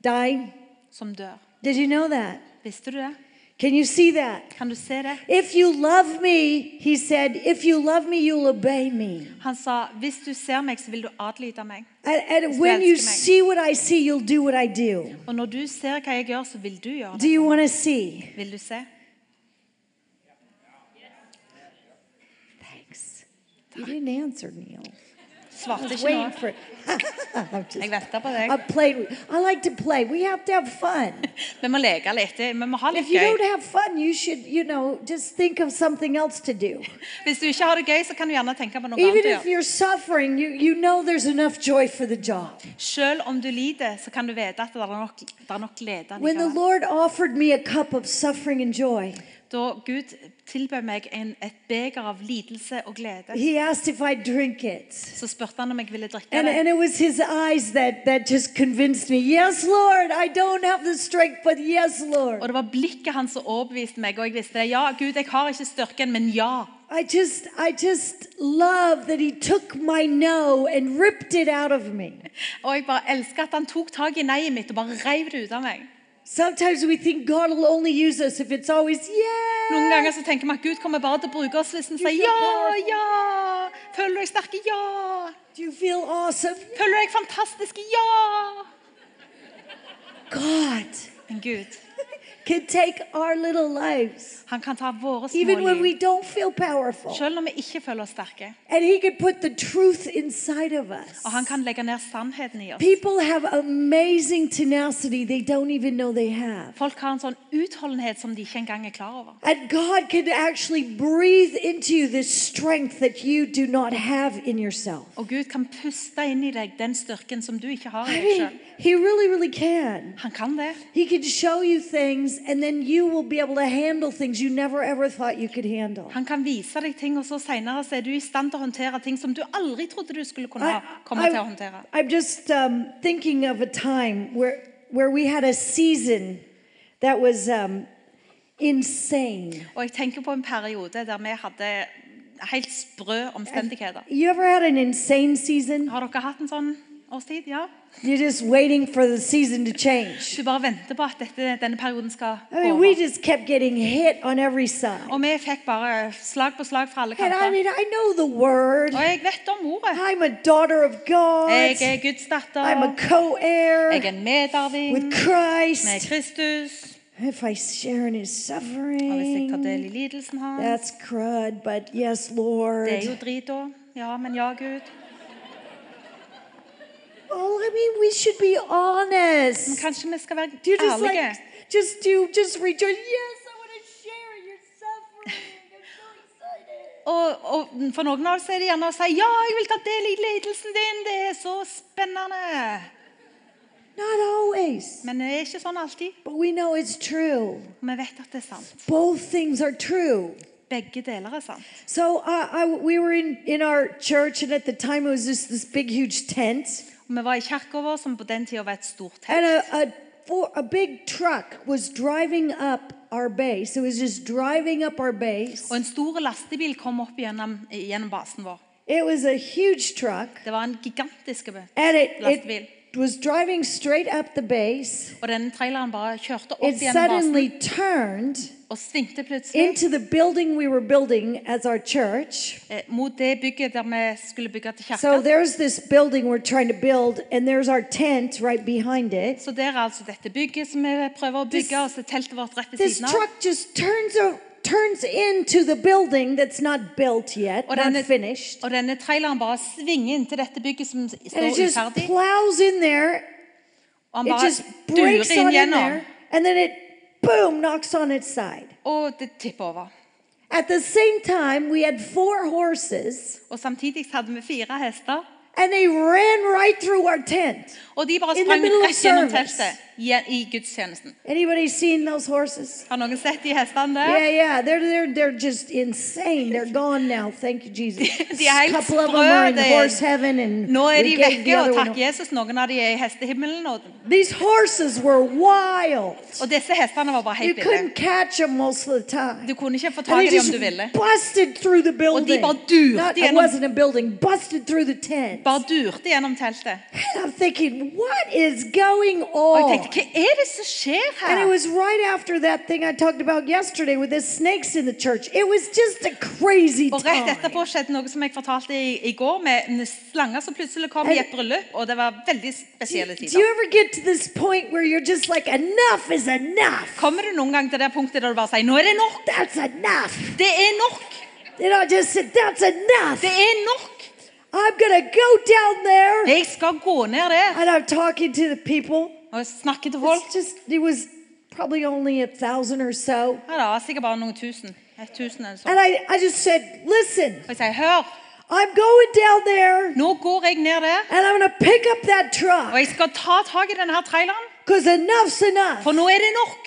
S1: dying.
S2: Som dør.
S1: Did you know that?
S2: Visste du det?
S1: Can you see that?
S2: Kan du se det?
S1: If you love me, he said, if you love me, you'll obey me.
S2: Han sa, hvis du ser meg, så vil du adlyde meg.
S1: And, and
S2: Du
S1: when you
S2: älskar mig.
S1: see what I see, you'll do what I do.
S2: Og når du ser hva jeg gjør, så vil du gjøre
S1: Do
S2: det.
S1: you want to see?
S2: Vil du se?
S1: Thanks. You didn't answer, Neil.
S2: Svarte ikke
S1: Waiting
S2: nå.
S1: for *laughs* I'm
S2: Jeg
S1: just,
S2: venter på
S1: I
S2: deg.
S1: played. with- I like to play. We have to have fun.
S2: Vi må leke litt. Vi må ha
S1: If
S2: litt
S1: you don't
S2: gøy.
S1: have fun, you should, you know, just think of something else to do.
S2: Hvis du ikke har det gøy, så kan du gjerne tenke på noe
S1: Even
S2: annet. å
S1: if
S2: gjøre.
S1: you're suffering, you, you know there's enough joy for the job.
S2: Selv om du lider, så kan du vite at det er nok, det er nok glede.
S1: When the
S2: likevel.
S1: Lord offered me a cup of suffering and joy,
S2: Da Gud tilbød meg en, et beger av lidelse og glede,
S1: He asked if I'd drink it.
S2: så spurte han om jeg ville drikke
S1: And,
S2: det.
S1: and it was His eyes that, that just convinced me yes, Lord, I don't have the strength, but yes,
S2: Og
S1: Lord.
S2: det var blikket hans som overbeviste meg, og jeg visste det. Ja, Gud, jeg har ikke styrken, men ja.
S1: I just, I just love that He took my no and ripped it out of me.
S2: Og jeg bare elsker at han tok tak i nei-et mitt og bare reiv det ut av meg.
S1: Sometimes we think God will only use us if it's always, yeah.
S2: Noen ganger så tenker vi at Gud kommer bare til å bruke oss hvis vi sier ja, ja. Føler du deg sterk? Ja.
S1: Do you feel awesome?
S2: Føler du deg fantastisk? Ja.
S1: God
S2: Men Gud,
S1: can take our little lives,
S2: han kan ta våre
S1: even
S2: små
S1: when
S2: liv.
S1: we don't feel powerful.
S2: Selv når vi ikke føler oss sterke.
S1: And He can put the truth inside of us.
S2: Og han kan legge ned sannheten i oss.
S1: People have amazing tenacity they don't even know they have.
S2: Folk har en sånn utholdenhet som de ikke engang er klar over.
S1: And God can actually breathe into you this strength that you do not have in yourself.
S2: Og Gud kan puste inn i deg den styrken som du ikke har i
S1: I
S2: deg
S1: mean,
S2: selv.
S1: He really, really can.
S2: Han kan det.
S1: He can show you things, and then you will be able to handle things you never ever thought you could handle.
S2: Han kan vise deg ting, og så senere så er du i stand til å håndtere ting som du aldri trodde du skulle kunne
S1: I,
S2: ha, komme til å håndtere.
S1: am just um, thinking of a time where where we had a season that was um, insane.
S2: Og jeg tenker på en periode der vi hadde helt sprø omstendigheter.
S1: You ever had an insane season?
S2: Har dere hatt en sånn årstid? Ja?
S1: You're just waiting for the season to change.
S2: Du bare venter på at dette, denne perioden skal
S1: I mean, we
S2: over.
S1: just kept getting hit on every side.
S2: Og vi fikk bare slag på slag fra alle
S1: And I
S2: kanter.
S1: mean, I know the word.
S2: Og jeg vet om ordet.
S1: I'm a daughter of God.
S2: Jeg er Guds
S1: I'm a
S2: datter. Jeg
S1: co-heir
S2: er en medarving
S1: with
S2: med
S1: Christ.
S2: Kristus.
S1: If I share in his
S2: Og hvis jeg tar del
S1: suffering,
S2: i lidelsen hans
S1: that's crud, but yes,
S2: Det er jo
S1: Lord.
S2: drit òg. Ja, men ja, Gud.
S1: Oh, I mean, we should be
S2: Men
S1: honest.
S2: kanskje vi skal være
S1: Do you just
S2: ærlige.
S1: like, just do, just rejoice. Yes, I want to share in your
S2: *laughs*
S1: suffering. I'm so excited.
S2: Og, og for noen av oss er det gjerne å si 'Ja, jeg vil ta del i lidelsen din. Det er så spennende.'
S1: Not always,
S2: Men det er ikke sånn alltid.
S1: but we know it's true.
S2: Og vi vet at det er sant.
S1: Both things are true.
S2: Begge deler er sant.
S1: So uh, I, we were in, in our church, and at the time it was just this big, huge tent,
S2: Og vi var i kirka vår, som på den tida var et stort telt.
S1: and a, a, four, a big truck was driving up our base. It was just driving up our base.
S2: Og en stor lastebil kom opp gjennom, gjennom basen vår.
S1: It was a huge truck,
S2: Det var en gigantisk bu-
S1: and it,
S2: lastebil.
S1: it was driving straight up the base.
S2: Og den traileren bare kjørte
S1: It
S2: opp gjennom basen
S1: suddenly turned
S2: og svingte plutselig.
S1: into the building we were building as our church.
S2: eh, mot det bygget der vi skulle bygge til kirka.
S1: So there's this building we're trying to build, and there's our tent right behind it.
S2: så der er altså dette bygget som vi prøver å bygge,
S1: This-
S2: og så teltet vårt rett ved
S1: This
S2: siden av.
S1: truck just turns o- turns into the building that's not built yet,
S2: Og
S1: not
S2: denne,
S1: finished,
S2: og denne traileren bare svinger inntil dette bygget som står
S1: and it just
S2: uferdig.
S1: plows in there.
S2: Og han
S1: It
S2: bare
S1: just
S2: durer
S1: breaks
S2: inn
S1: on in
S2: gjennom,
S1: there, and then it boom knocks on its side.
S2: og det tipper over.
S1: At the same time, we had four horses,
S2: Og samtidig så hadde vi fire hester,
S1: and they ran right through our tent.
S2: og de bare
S1: In the
S2: sprang
S1: middle of
S2: rett gjennom
S1: service.
S2: teltet i, i gudstjenesten.
S1: Anybody seen those horses?
S2: Har noen sett de hestene der?
S1: Yeah, yeah, they're they're they're just insane. They're gone now. Thank you, Jesus.
S2: De er
S1: A
S2: helt
S1: couple of them are in
S2: sprø, de-
S1: horse heaven, and
S2: Nå er de
S1: we gave the
S2: vekke,
S1: other
S2: og
S1: one.
S2: takk Jesus, noen av de er i hestehimmelen, og,
S1: These horses were wild.
S2: og disse hestene var bare
S1: You
S2: helt ville.
S1: couldn't catch them most of the time.
S2: Du kunne ikke få
S1: And
S2: tak
S1: they
S2: i dem om
S1: just
S2: du ville.
S1: busted through the building.
S2: bare durte
S1: Not, it
S2: gjennom-
S1: wasn't a building. Busted through the tent.
S2: Bare durte gjennom teltet.
S1: And I'm thinking, what is going
S2: Og jeg
S1: on?
S2: tenkte, hva er det som skjer
S1: Oh. And it
S2: her?
S1: was right after that thing I talked about yesterday with the snakes in the church. It was just a crazy
S2: Og rett
S1: time.
S2: etterpå skjedde noe som jeg fortalte i, i går, med en slange som plutselig kom i et bryllup, og det var veldig spesielle
S1: Do you
S2: tider.
S1: ever get to this point where you're just like, enough is enough?
S2: Kommer du noen gang til det punktet der du bare sier 'nå er det nok'?
S1: That's enough.
S2: Det er nok!
S1: You know, I just said, that's enough.
S2: Det er nok!
S1: I'm going to go down there.
S2: Jeg skal gå ned der
S1: And I'm talking to the people.
S2: og snakke til folk.
S1: It's just, it was probably only a thousand or so.
S2: Ja, det var sikkert bare noen tusen. Et tusen eller sånn.
S1: And I, I just said, listen,
S2: Og jeg sier, hør,
S1: I'm going down there and
S2: nå går jeg ned der,
S1: I'm going to pick up that
S2: og
S1: truck
S2: jeg skal ta tak i denne her traileren,
S1: because enough's enough.
S2: for nå er det nok.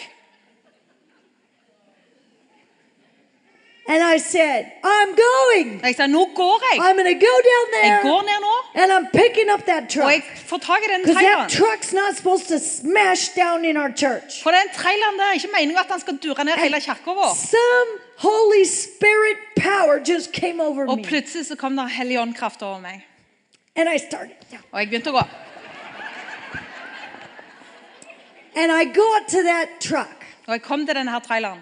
S1: And I said, I'm going.
S2: Og jeg sier, nå går jeg.
S1: I'm going to go
S2: Jeg
S1: down there
S2: går ned nå,
S1: and I'm picking up that
S2: og
S1: truck
S2: jeg får tak i den
S1: because that
S2: traileren.
S1: truck's not supposed to smash down in our church.
S2: For den traileren der, ikke meningen at han skal dure ned hele kirka vår.
S1: Some Holy Spirit power just came over
S2: Og
S1: me.
S2: plutselig så kom der hellig åndkraft over meg.
S1: And I started. down.
S2: Og jeg begynte å gå.
S1: And I got to that truck.
S2: Og jeg kom til denne her traileren.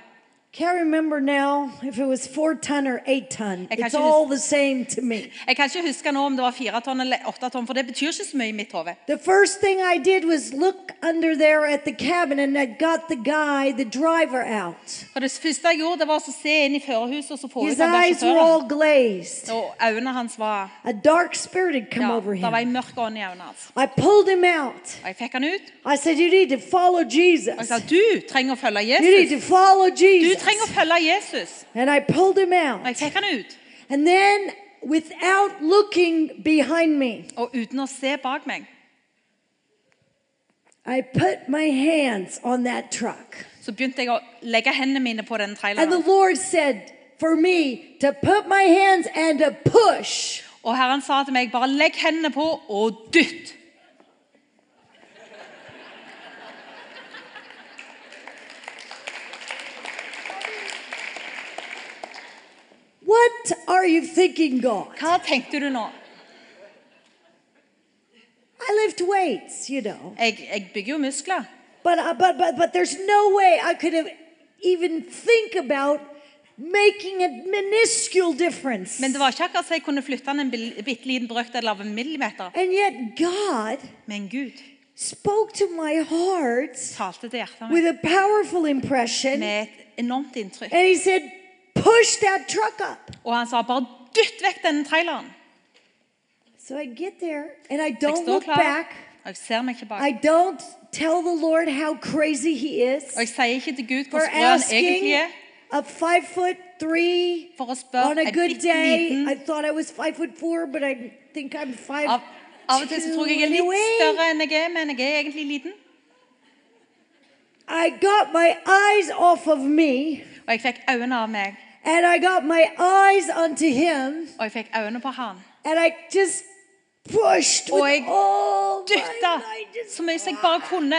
S1: Can't remember now if it was four ton or eight ton.
S2: I
S1: It's
S2: can't
S1: all the same to me.
S2: Jeg kan ikke huske nå om det var fire tonn eller åtte tonn, for det betyr ikke så mye i mitt hode.
S1: The first thing I did was look under there at the cabin and I got the guy, the driver, out.
S2: For det første jeg gjorde, det var å se inn i førerhuset og så få
S1: His
S2: ut han der
S1: eyes were
S2: sjåføren.
S1: all glazed.
S2: Og øynene hans var
S1: A dark spirit had come
S2: Ja,
S1: over
S2: det var
S1: him.
S2: en mørk ånd i øynene hans.
S1: I pulled him out.
S2: Og jeg fikk han ut.
S1: I said, You need to follow
S2: Og jeg
S1: Jesus.
S2: sa, du trenger å følge
S1: You need
S2: Jesus.
S1: to follow
S2: Du
S1: Jesus.
S2: trenger å følge Jesus.
S1: And I pulled him
S2: Og jeg
S1: out.
S2: fikk han ut.
S1: And then, without looking behind me,
S2: Og uten å se bak meg,
S1: I put my hands on that truck.
S2: så begynte jeg å legge hendene mine på den
S1: And the
S2: traileren.
S1: Lord said for me to put my hands and to push.
S2: Og Herren sa til meg, bare legg hendene på og dytt.
S1: What are you thinking, God?
S2: Hva tenkte du nå?
S1: I lift weights, you know,
S2: Jeg, jeg bygger jo muskler.
S1: but, I- but, but, but there's no way I could have even think about making a minuscule difference.
S2: Men det var ikke akkurat så jeg kunne flytte den en bil- bitte liten brøkdel av en millimeter.
S1: And yet God
S2: Men Gud
S1: spoke to my heart
S2: talte til hjertet
S1: with
S2: mitt
S1: a powerful impression,
S2: med et enormt inntrykk.
S1: and He said, push that truck up.
S2: Og han sa bare dytt vekk denne traileren.
S1: So I get there and I
S2: Jeg
S1: don't
S2: står
S1: look
S2: klar,
S1: back.
S2: og jeg ser meg ikke
S1: I
S2: bak.
S1: don't tell the Lord how crazy he is
S2: Og jeg sier ikke til Gud
S1: for
S2: hvor sprø han egentlig
S1: asking
S2: er,
S1: a five foot three
S2: for å spørre
S1: on a
S2: en
S1: good
S2: bitte
S1: day. I
S2: liten
S1: thought I was five foot four, but I think I'm five
S2: av, av og til så
S1: two
S2: tror jeg jeg er litt
S1: anyway.
S2: større enn jeg er, men jeg er egentlig liten.
S1: I got my eyes off of me
S2: Og jeg fikk øynene av meg,
S1: and I got my eyes onto him
S2: og jeg fikk øynene på han.
S1: and I just pushed
S2: Og jeg
S1: with all
S2: Dytta
S1: my might. Just- ah,
S2: så mye som jeg bare kunne.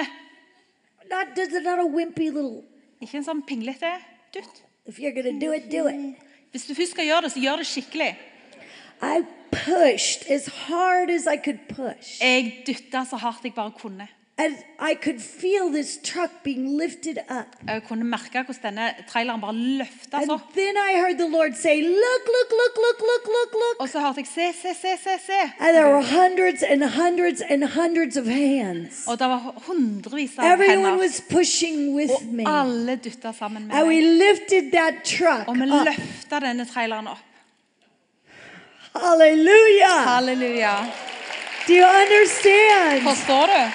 S1: Not, this is not a wimpy little,
S2: Ikke en sånn pinglete dytt.
S1: if you're going to do it, do it.
S2: Hvis du først skal gjøre det, så gjør det skikkelig.
S1: I pushed as hard as I could push.
S2: Jeg dytta så hardt jeg bare kunne.
S1: And I could feel this truck being lifted up.
S2: Jeg kunne merke hvordan denne traileren bare løfta
S1: And
S2: opp.
S1: then I heard the Lord say, Look, look, look, look, look, look, look.
S2: Og så hørte jeg se, se, se, se, se.
S1: And there were hundreds and hundreds and hundreds of hands.
S2: Og det var hundrevis av
S1: Everyone
S2: hender.
S1: was pushing with me.
S2: Og alle dytta sammen med
S1: And we
S2: meg.
S1: lifted that truck.
S2: Og vi
S1: Up.
S2: løfta denne traileren opp.
S1: Hallelujah.
S2: Halleluja.
S1: Do you understand?
S2: Forstår du?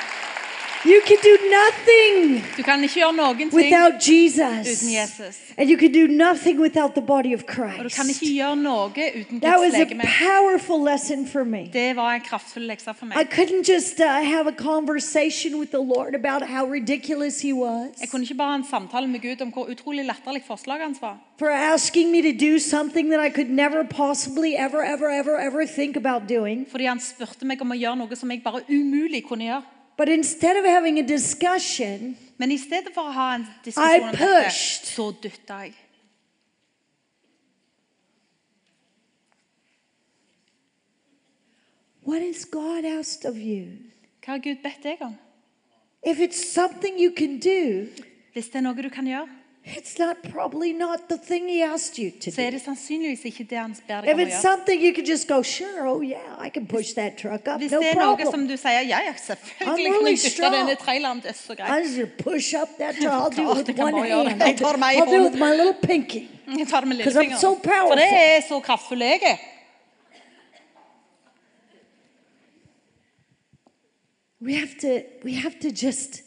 S1: You can do nothing
S2: Du kan ikke gjøre noen ting.
S1: without Jesus.
S2: Uten Jesus.
S1: And you can do nothing without the body of
S2: Og du kan
S1: Christ.
S2: ikke gjøre noe uten
S1: That
S2: Guds
S1: was a
S2: legeme.
S1: powerful lesson for me.
S2: Det var en kraftfull lekse for
S1: I
S2: meg.
S1: couldn't just uh, have a conversation with the Lord about how ridiculous He was
S2: Jeg kunne ikke bare ha en samtale med Gud om hvor utrolig latterlig forslaget hans var.
S1: for asking me to do something that I could never possibly ever, ever, ever, ever think about doing.
S2: Fordi han spurte meg om å gjøre noe som jeg bare umulig kunne gjøre.
S1: But instead of having a discussion,
S2: Men i stedet for å ha en
S1: I
S2: diskusjon om dette,
S1: pushed.
S2: så dytta jeg.
S1: what has God asked of you?
S2: Hva har Gud bedt deg om?
S1: If it's something you can do,
S2: Hvis det er noe du kan gjøre,
S1: it's not probably not the thing He asked you to
S2: så er
S1: do.
S2: det sannsynligvis ikke det han ber deg
S1: If
S2: om å
S1: it's
S2: gjøre.
S1: something you can just go, sure, oh yeah, I can push that truck up,
S2: Hvis
S1: no
S2: det er noe som
S1: problem.
S2: du sier Ja, ja,
S1: I'm
S2: selvfølgelig kan
S1: really
S2: jeg dytte
S1: strong.
S2: denne traileren. Det er så greit.
S1: I just gonna push up that truck. I'll do it with
S2: Klart jeg kan
S1: one
S2: bare gjøre det.
S1: hand. I'll
S2: Jeg tar
S1: do,
S2: meg i
S1: I'll do it
S2: hånden.
S1: with my little pinky.
S2: *laughs* Jeg tar det med
S1: 'Cause I'm
S2: lillefingeren.
S1: so
S2: For det er så kraftfull jeg er.
S1: we have to we have to just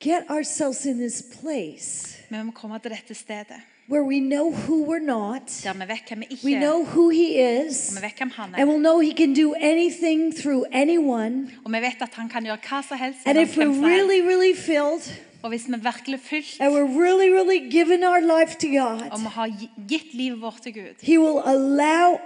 S1: get ourselves in this place
S2: Vi må komme til dette stedet
S1: where we know who we're not.
S2: der vi vet hvem vi
S1: We
S2: ikke er,
S1: know who he
S2: og
S1: is.
S2: vi vet hvem han
S1: And
S2: er.
S1: we'll know he can do anything through anyone.
S2: Og vi vet at han kan gjøre hva som helst.
S1: And
S2: gjennom
S1: if we're
S2: hvem som helst.
S1: really, really filled
S2: Og hvis vi virkelig er fylt,
S1: and we're really, really giving our life to
S2: og
S1: God,
S2: vi har gi- gitt livet vårt til Gud,
S1: he will allow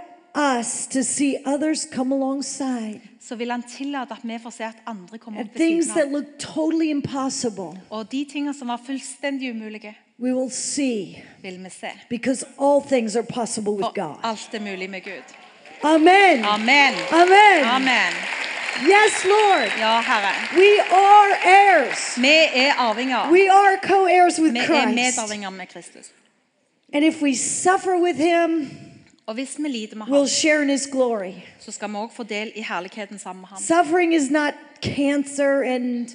S1: us to see others come alongside
S2: så vil han tillate at vi får se at andre kommer
S1: and
S2: opp ved
S1: things that
S2: siden av.
S1: look totally impossible.
S2: Og de tingene som var fullstendig umulige,
S1: We will see
S2: vil vi se.
S1: because all things are possible with
S2: For
S1: God.
S2: alt er mulig med Gud.
S1: Amen.
S2: Amen.
S1: Amen.
S2: Amen.
S1: Yes, Lord.
S2: Ja, Herre.
S1: We are heirs.
S2: Vi er arvinger.
S1: We are co heirs with
S2: Vi er
S1: Christ.
S2: medarvinger med Kristus.
S1: And if we suffer with him,
S2: Og hvis vi lider med
S1: we'll
S2: ham,
S1: share in his glory.
S2: så skal vi òg få del i herligheten sammen med ham.
S1: Suffering is not cancer, and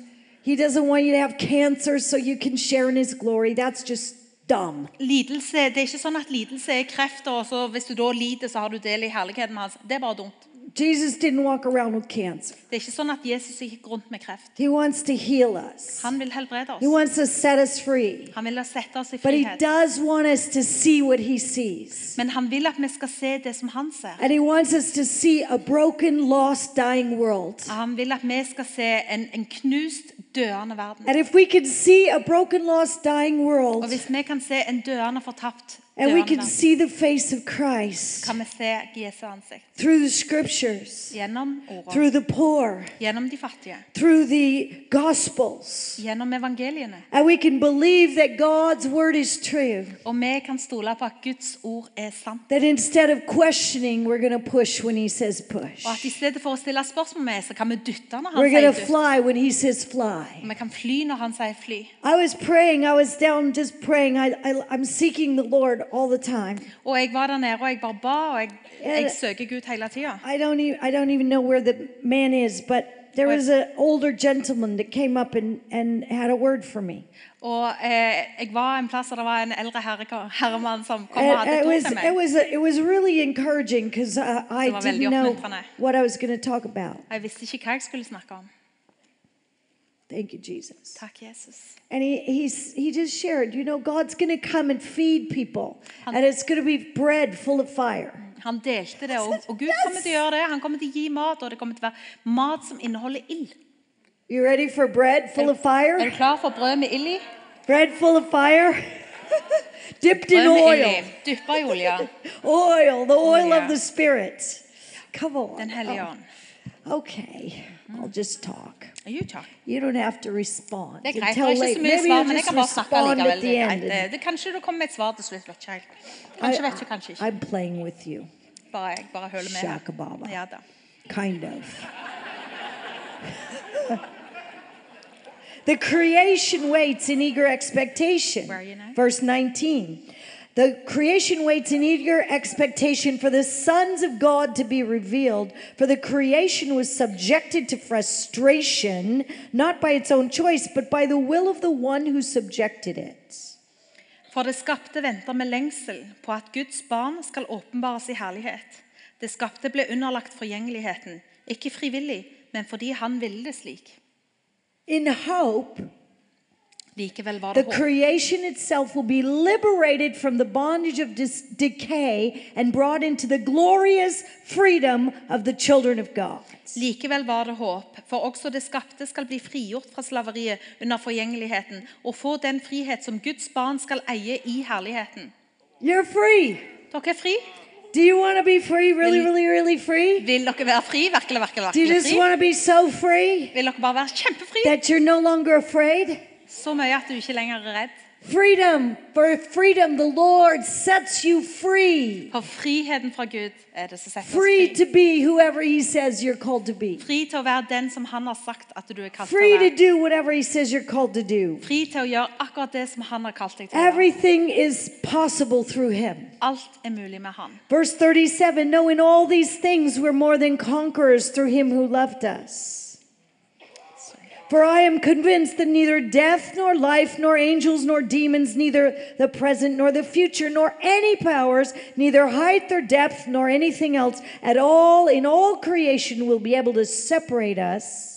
S1: he doesn't want you to have cancer so you can share in his glory. That's just dumb.
S2: Lidelse, Det er ikke sånn at lidelse er kreft, og så hvis du da lider, så har du del i herligheten med hans. Det er bare dumt.
S1: Jesus didn't walk around with cancer,
S2: Det er ikke sånn at Jesus gikk rundt med kreft.
S1: he wants to heal us,
S2: Han vil helbrede
S1: he
S2: oss.
S1: wants to set us free.
S2: Han vil sette oss i
S1: But he
S2: frihet.
S1: does want us to see what he sees.
S2: Men han vil at vi skal se det som han ser.
S1: And he wants us to see a broken, lost, dying world.
S2: Han vil at vi skal se en, en knust, døende verden.
S1: And if we can see a broken, lost, dying
S2: Og
S1: world,
S2: hvis vi kan se en døende, fortapt
S1: and we
S2: døende
S1: can
S2: verden,
S1: see the face of Christ
S2: kan vi se Jesu ansikt
S1: through the scriptures,
S2: gjennom
S1: through
S2: ordene,
S1: the poor,
S2: gjennom de fattige,
S1: through the gospels,
S2: gjennom evangeliene.
S1: and we can believe that God's word is true.
S2: Og vi kan stole på at Guds ord er sant.
S1: That instead of questioning, we're going to push when he says push.
S2: Og at i stedet for å stille spørsmål med, så kan vi dytte når
S1: We're
S2: han
S1: going
S2: sier
S1: to
S2: dytt.
S1: fly when he says fly.
S2: Og vi kan fly når han sier fly.
S1: I was praying, I was down just praying. I, I, I'm seeking the Lord all the time.
S2: Og jeg var der nede, og jeg bare ba, og jeg,
S1: Ja,
S2: jeg
S1: det-
S2: søker Gud hele tida.
S1: I don't even I don't even know where the man is, but there was an older gentleman that came up and, and had a word for me.
S2: Og eh, jeg var en plass der det var en eldre herre, herremann som kom og
S1: And
S2: hadde
S1: it
S2: et ord
S1: Eh, was
S2: til
S1: it
S2: meg.
S1: was it was really encouraging because I,
S2: Det var
S1: I
S2: veldig
S1: didn't know
S2: oppmuntrende.
S1: what I was going to talk about.
S2: Og jeg visste ikke hva jeg skulle snakke om.
S1: Thank you, Jesus.
S2: Takk, Jesus.
S1: And he he's, he just shared, you know, God's going to come and feed people, and it's going to be bread full of fire.
S2: Han delte det, og, og Gud kommer til å gjøre det. Han kommer til å gi mat, og det kommer til å være mat som inneholder ild.
S1: You ready for bread full of
S2: Er
S1: fire?
S2: du klar for brød med ild i?
S1: Bread full of fire, *laughs* dipped in
S2: Brød med ild i.
S1: oil.
S2: Dyppa i olje.
S1: Oil, the oil
S2: Yeah.
S1: of the Spirit. Come on.
S2: Den hellige ånd.
S1: Oh, okay, I'll just talk.
S2: You talk.
S1: You don't have to respond
S2: Det er greit.
S1: until
S2: Det var ikke
S1: later.
S2: så mye
S1: Maybe
S2: svar,
S1: you
S2: men jeg
S1: just
S2: kan bare snakke
S1: respond
S2: likevel.
S1: at
S2: Det
S1: the
S2: er greit.
S1: end.
S2: Det,
S1: and-
S2: det, kanskje du kommer med et svar til slutt. Vet ikke helt. Kanskje vet du, kanskje
S1: I,
S2: ikke.
S1: am playing with you,
S2: Bare jeg bare høler med. her.
S1: Shakababa.
S2: Ja da.
S1: kind of. the creation waits in eager expectation.
S2: Where are you now?
S1: Verse 19. The creation waits in eager expectation for the sons of God to be revealed. For the creation was subjected to frustration, not by its own choice, but by the will of the one who subjected it.
S2: For det skapte venter med lengsel på at Guds barn skal åpenbares i herlighet. Det skapte ble underlagt forgjengeligheten, ikke frivillig, men fordi han ville det slik.
S1: In hope,
S2: Likevel var
S1: the
S2: det håp.
S1: creation itself will be liberated from the bondage of dis- decay and brought into the glorious freedom of the children of God.
S2: Likevel var det håp, for også det skapte skal bli frigjort fra slaveriet under forgjengeligheten og få den frihet som Guds barn skal eie i herligheten.
S1: You're free.
S2: Dere er fri.
S1: Do you want to be free, really,
S2: Vil-
S1: really, really free?
S2: Vil dere være fri? Virkelig, virkelig,
S1: Do you
S2: virkelig
S1: just
S2: fri?
S1: want to be so free
S2: Vil dere bare være kjempefri?
S1: that you're no longer afraid?
S2: Så mye at du ikke lenger er redd.
S1: Freedom, for freedom, the Lord sets you free.
S2: For friheten fra Gud er det som setter
S1: Free
S2: oss fri.
S1: to be whoever He says you're called to be.
S2: Fri til å være den som han har sagt at du er kalt til
S1: Free
S2: å
S1: to
S2: være.
S1: do whatever He says you're called to do.
S2: Fri til å gjøre akkurat det som han har kalt deg til å gjøre.
S1: Everything is possible through him.
S2: Alt er mulig med han.
S1: Verse 37 No, in all these things we're more than conquerors through him who loved us. For I am convinced that neither death, nor life, nor angels, nor demons, neither the present, nor the future, nor any powers, neither height, nor depth, nor anything else at all in all creation will be able to separate us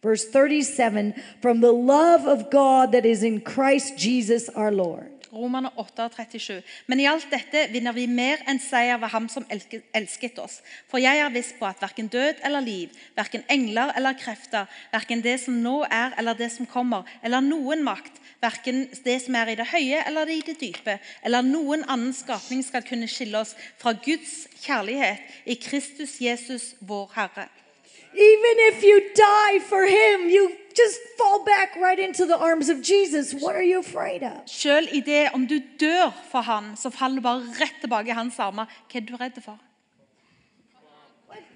S1: Verse 37 From the love of God that is in Christ Jesus our Lord.
S2: Romerne 8, 37. Men i alt dette vinner vi mer enn seier ved ham som elke- elsket oss. For jeg er viss på at verken død eller liv, verken engler eller krefter, verken det som nå er eller det som kommer, eller noen makt, verken det som er i det høye eller det i det dype, eller noen annen skapning skal kunne skille oss fra Guds kjærlighet i Kristus Jesus, vår Herre.
S1: Even if you die for Him, you just fall back right into the arms of Jesus. What are you afraid of?
S2: Selv i det om du dør for han, så faller du bare rett tilbake i hans armer. Hva er du redd for?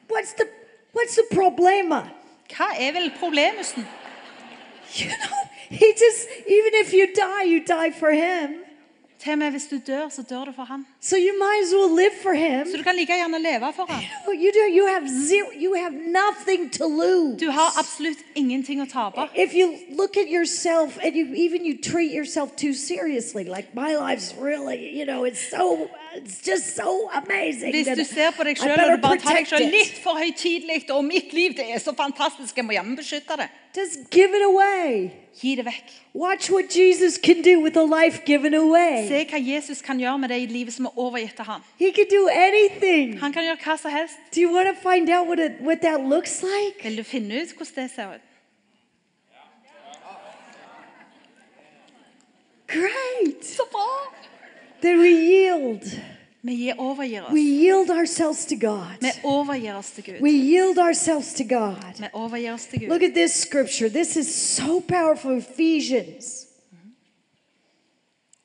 S1: What's the what's the problema? *laughs*
S2: Hva er vel problemusen?
S1: You know, he just even if you die, you die for him.
S2: Til og med hvis du dør, så dør du for han.
S1: So you might as well live for
S2: Så
S1: him.
S2: du kan like gjerne leve for han.
S1: You do you have zero you have nothing to lose.
S2: Du har absolutt ingenting å tape.
S1: If you look at yourself and you even you treat yourself too seriously, like my life's really, you know, it's so it's just so amazing.
S2: Hvis
S1: that
S2: du ser på deg
S1: I
S2: selv og
S1: better
S2: du bare tar deg
S1: protect it.
S2: selv litt for høytidelig, og mitt liv det er så fantastisk, jeg må jammen beskytte det.
S1: Just give it away.
S2: Gi det vekk.
S1: Watch what Jesus can do with a life given away.
S2: Se hva Jesus kan gjøre med det i livet som er overgitt til han.
S1: He can do anything.
S2: Han kan gjøre hva som helst.
S1: Do you want to find out what it, what that looks like?
S2: Vil du finne ut hvordan det ser ut?
S1: Great.
S2: Så bra!
S1: Then we yield.
S2: Vi gir- overgir
S1: We
S2: oss.
S1: yield ourselves to God.
S2: Vi overgir oss til Gud.
S1: We yield ourselves to God.
S2: Vi overgir oss til
S1: Look
S2: Gud.
S1: at this scripture. This is so powerful. Ephesians.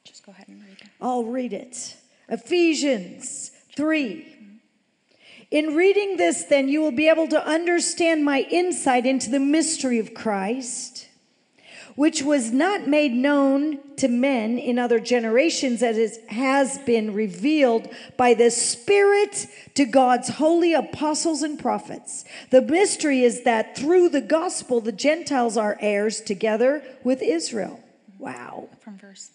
S2: Just go ahead and read it.
S1: I'll read it. Ephesians 3. In reading this, then, you will be able to understand my insight into the mystery of Christ, which was not made known to men in other generations, as it has been revealed by the Spirit to God's holy apostles and prophets. The mystery is that through the gospel, the Gentiles are heirs together with Israel. Wow.
S2: From verse.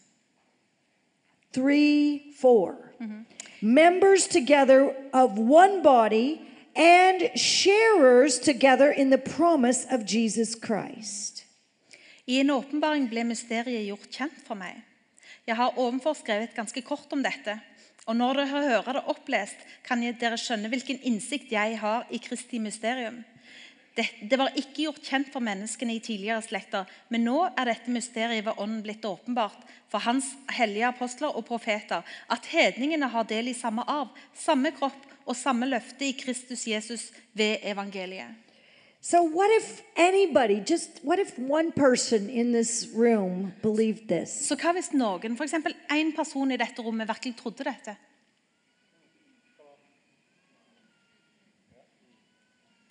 S1: 3 4.
S2: Mm-hmm.
S1: Members together of one body and sharers together in the promise of Jesus Christ.
S2: I en åpenbaring ble mysteriet gjort kjent for meg. Jeg har ovenfor skrevet ganske kort om dette. Og når dere hører det opplest, kan jeg- dere skjønne hvilken innsikt jeg har i Kristi mysterium. Det, det var ikke gjort kjent for menneskene i tidligere slekter, men nå er dette mysteriet ved ånden blitt åpenbart for hans hellige apostler og profeter, at hedningene har del i samme arv, samme kropp og samme løfte i Kristus Jesus ved evangeliet.
S1: So, what if anybody, just what if one person in this room believed this?
S2: Så hva hvis noen, f.eks. én person i dette rommet, virkelig trodde dette?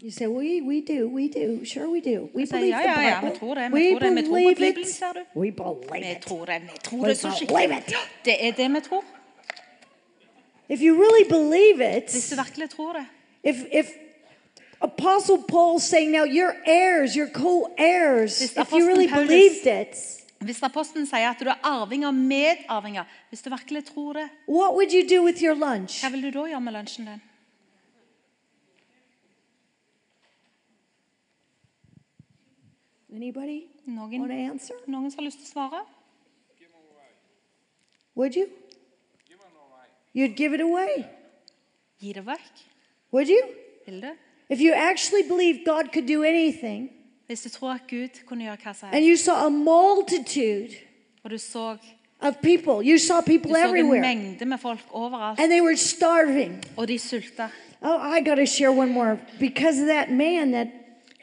S1: You say, we, we do, we do, sure we do. We
S2: say,
S1: believe
S2: yeah,
S1: the
S2: yeah, yeah,
S1: Bible.
S2: vi tror det, vi
S1: we
S2: tror det, vi tror på
S1: believe
S2: Bibelen, sa du.
S1: it. We believe
S2: Vi
S1: it.
S2: tror det. Vi tror
S1: We
S2: det så
S1: believe
S2: skikkelig.
S1: it.
S2: Det er det vi tror.
S1: If you really believe
S2: Hvis
S1: it,
S2: du virkelig tror det.
S1: If if Apostle Paul saying now you're heirs, you're co-heirs,
S2: Hvis
S1: if you really
S2: apostelen Paulus-
S1: believed it,
S2: Hvis apostelen sier at du er arving og medarvinger, hvis du virkelig tror det,
S1: what would you do with your lunch?
S2: hva vil du da gjøre med lunsjen din?
S1: Anybody want to
S2: Noen,
S1: answer?
S2: noen som har lyst til å svare?
S1: Would you? You'd give it away.
S2: Gi det vekk.
S1: Would you?
S2: Vil du?
S1: If you actually believed God could do anything
S2: Hvis du tror at Gud kunne gjøre hva som
S1: and
S2: helst,
S1: you saw a multitude
S2: og du så,
S1: of people, you saw
S2: du
S1: people
S2: så en
S1: everywhere
S2: mengde med folk overalt,
S1: and they were starving.
S2: og de sulta
S1: Oh, I got to share one more because of that man that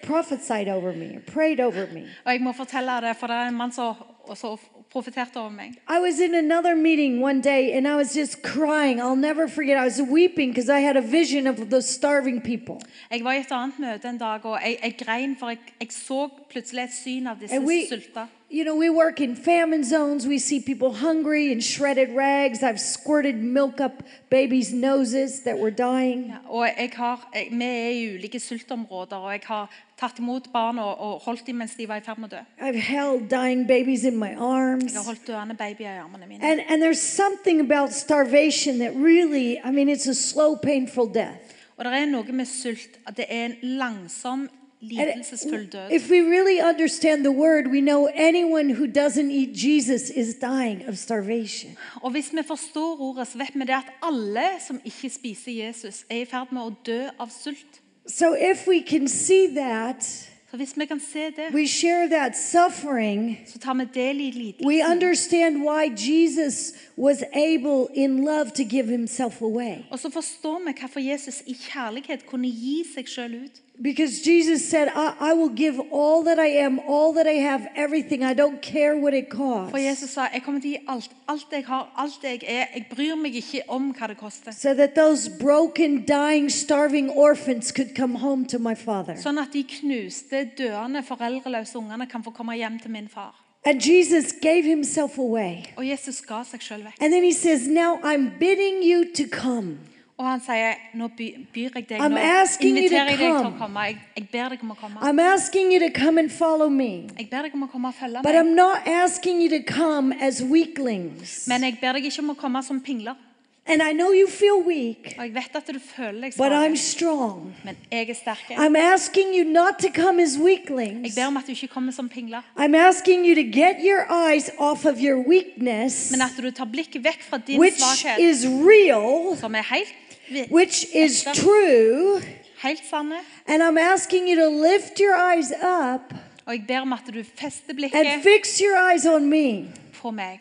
S1: prophesied over me, prayed over me.
S2: Og jeg må fortelle det, for det er en mann som også profeterte over meg.
S1: I was in another meeting one day and I was just crying. I'll never forget. I was weeping because I had a vision of the starving people.
S2: Jeg var i et annet møte en dag, og jeg, jeg grein, for jeg, jeg så plutselig et syn av disse
S1: And we,
S2: sulta.
S1: you know, we work in famine zones. We see people hungry in shredded rags. I've squirted milk up babies' noses that were dying.
S2: Og jeg har, jeg, vi er i ulike sultområder, og jeg har tatt imot barn og, og holdt dem mens de var i ferd med å dø.
S1: I've held dying babies in my arms.
S2: Jeg har holdt døende babyer i armene mine.
S1: And, and there's something about starvation that really, I mean, it's a slow, painful death.
S2: Og det er noe med sult at det er en langsom, lidelsesfull død.
S1: If we really understand the word, we know anyone who doesn't eat Jesus is dying of starvation.
S2: Og hvis vi forstår ordet, så vet vi det at alle som ikke spiser Jesus, er i ferd med å dø av sult.
S1: So if we can see that,
S2: Så hvis vi kan se det,
S1: we share that suffering,
S2: så tar vi del i lidelsen.
S1: we understand why Jesus was able in love to give himself away.
S2: Og så forstår vi hvorfor Jesus i kjærlighet kunne gi seg sjøl ut.
S1: Because Jesus said, I, I will give all that I am, all that I have, everything. I don't care what it costs.
S2: For Jesus sa 'Jeg kommer til å gi alt. Alt jeg har, alt jeg er. Jeg bryr meg ikke om hva det koster.'
S1: So that those broken, dying, starving orphans could come home to my father.
S2: Sånn at de knuste, døende, foreldreløse ungene kan få komme hjem til min far.
S1: And Jesus gave himself away.
S2: Og Jesus ga seg sjøl vekk.
S1: And then he says, Now I'm bidding you to come.
S2: Og han sier 'Nå by- byr jeg deg
S1: I'm
S2: nå.
S1: asking you to
S2: Inviterer jeg deg til å
S1: come.
S2: komme. Jeg, jeg ber deg om å komme.
S1: I'm asking you to come and follow me.
S2: Jeg ber deg om å komme og følge
S1: But
S2: meg.
S1: I'm not asking you to come as weaklings.
S2: Men jeg ber deg ikke om å komme som pingler.
S1: And I know you feel weak,
S2: Og jeg vet at du føler deg
S1: but I'm
S2: svak,
S1: strong.
S2: men jeg er sterk. Jeg
S1: I'm asking you not to come as weaklings.
S2: ber om at du ikke kommer som pingler,
S1: I'm asking you to get your eyes off of your weakness,
S2: men at du tar blikket vekk fra din
S1: which
S2: svakhet,
S1: is real,
S2: som er helt, vi-
S1: which is true.
S2: helt sanne.
S1: And I'm asking you to lift your eyes up
S2: Og jeg ber om at du fester
S1: and
S2: blikket
S1: fix your eyes on me.
S2: på meg.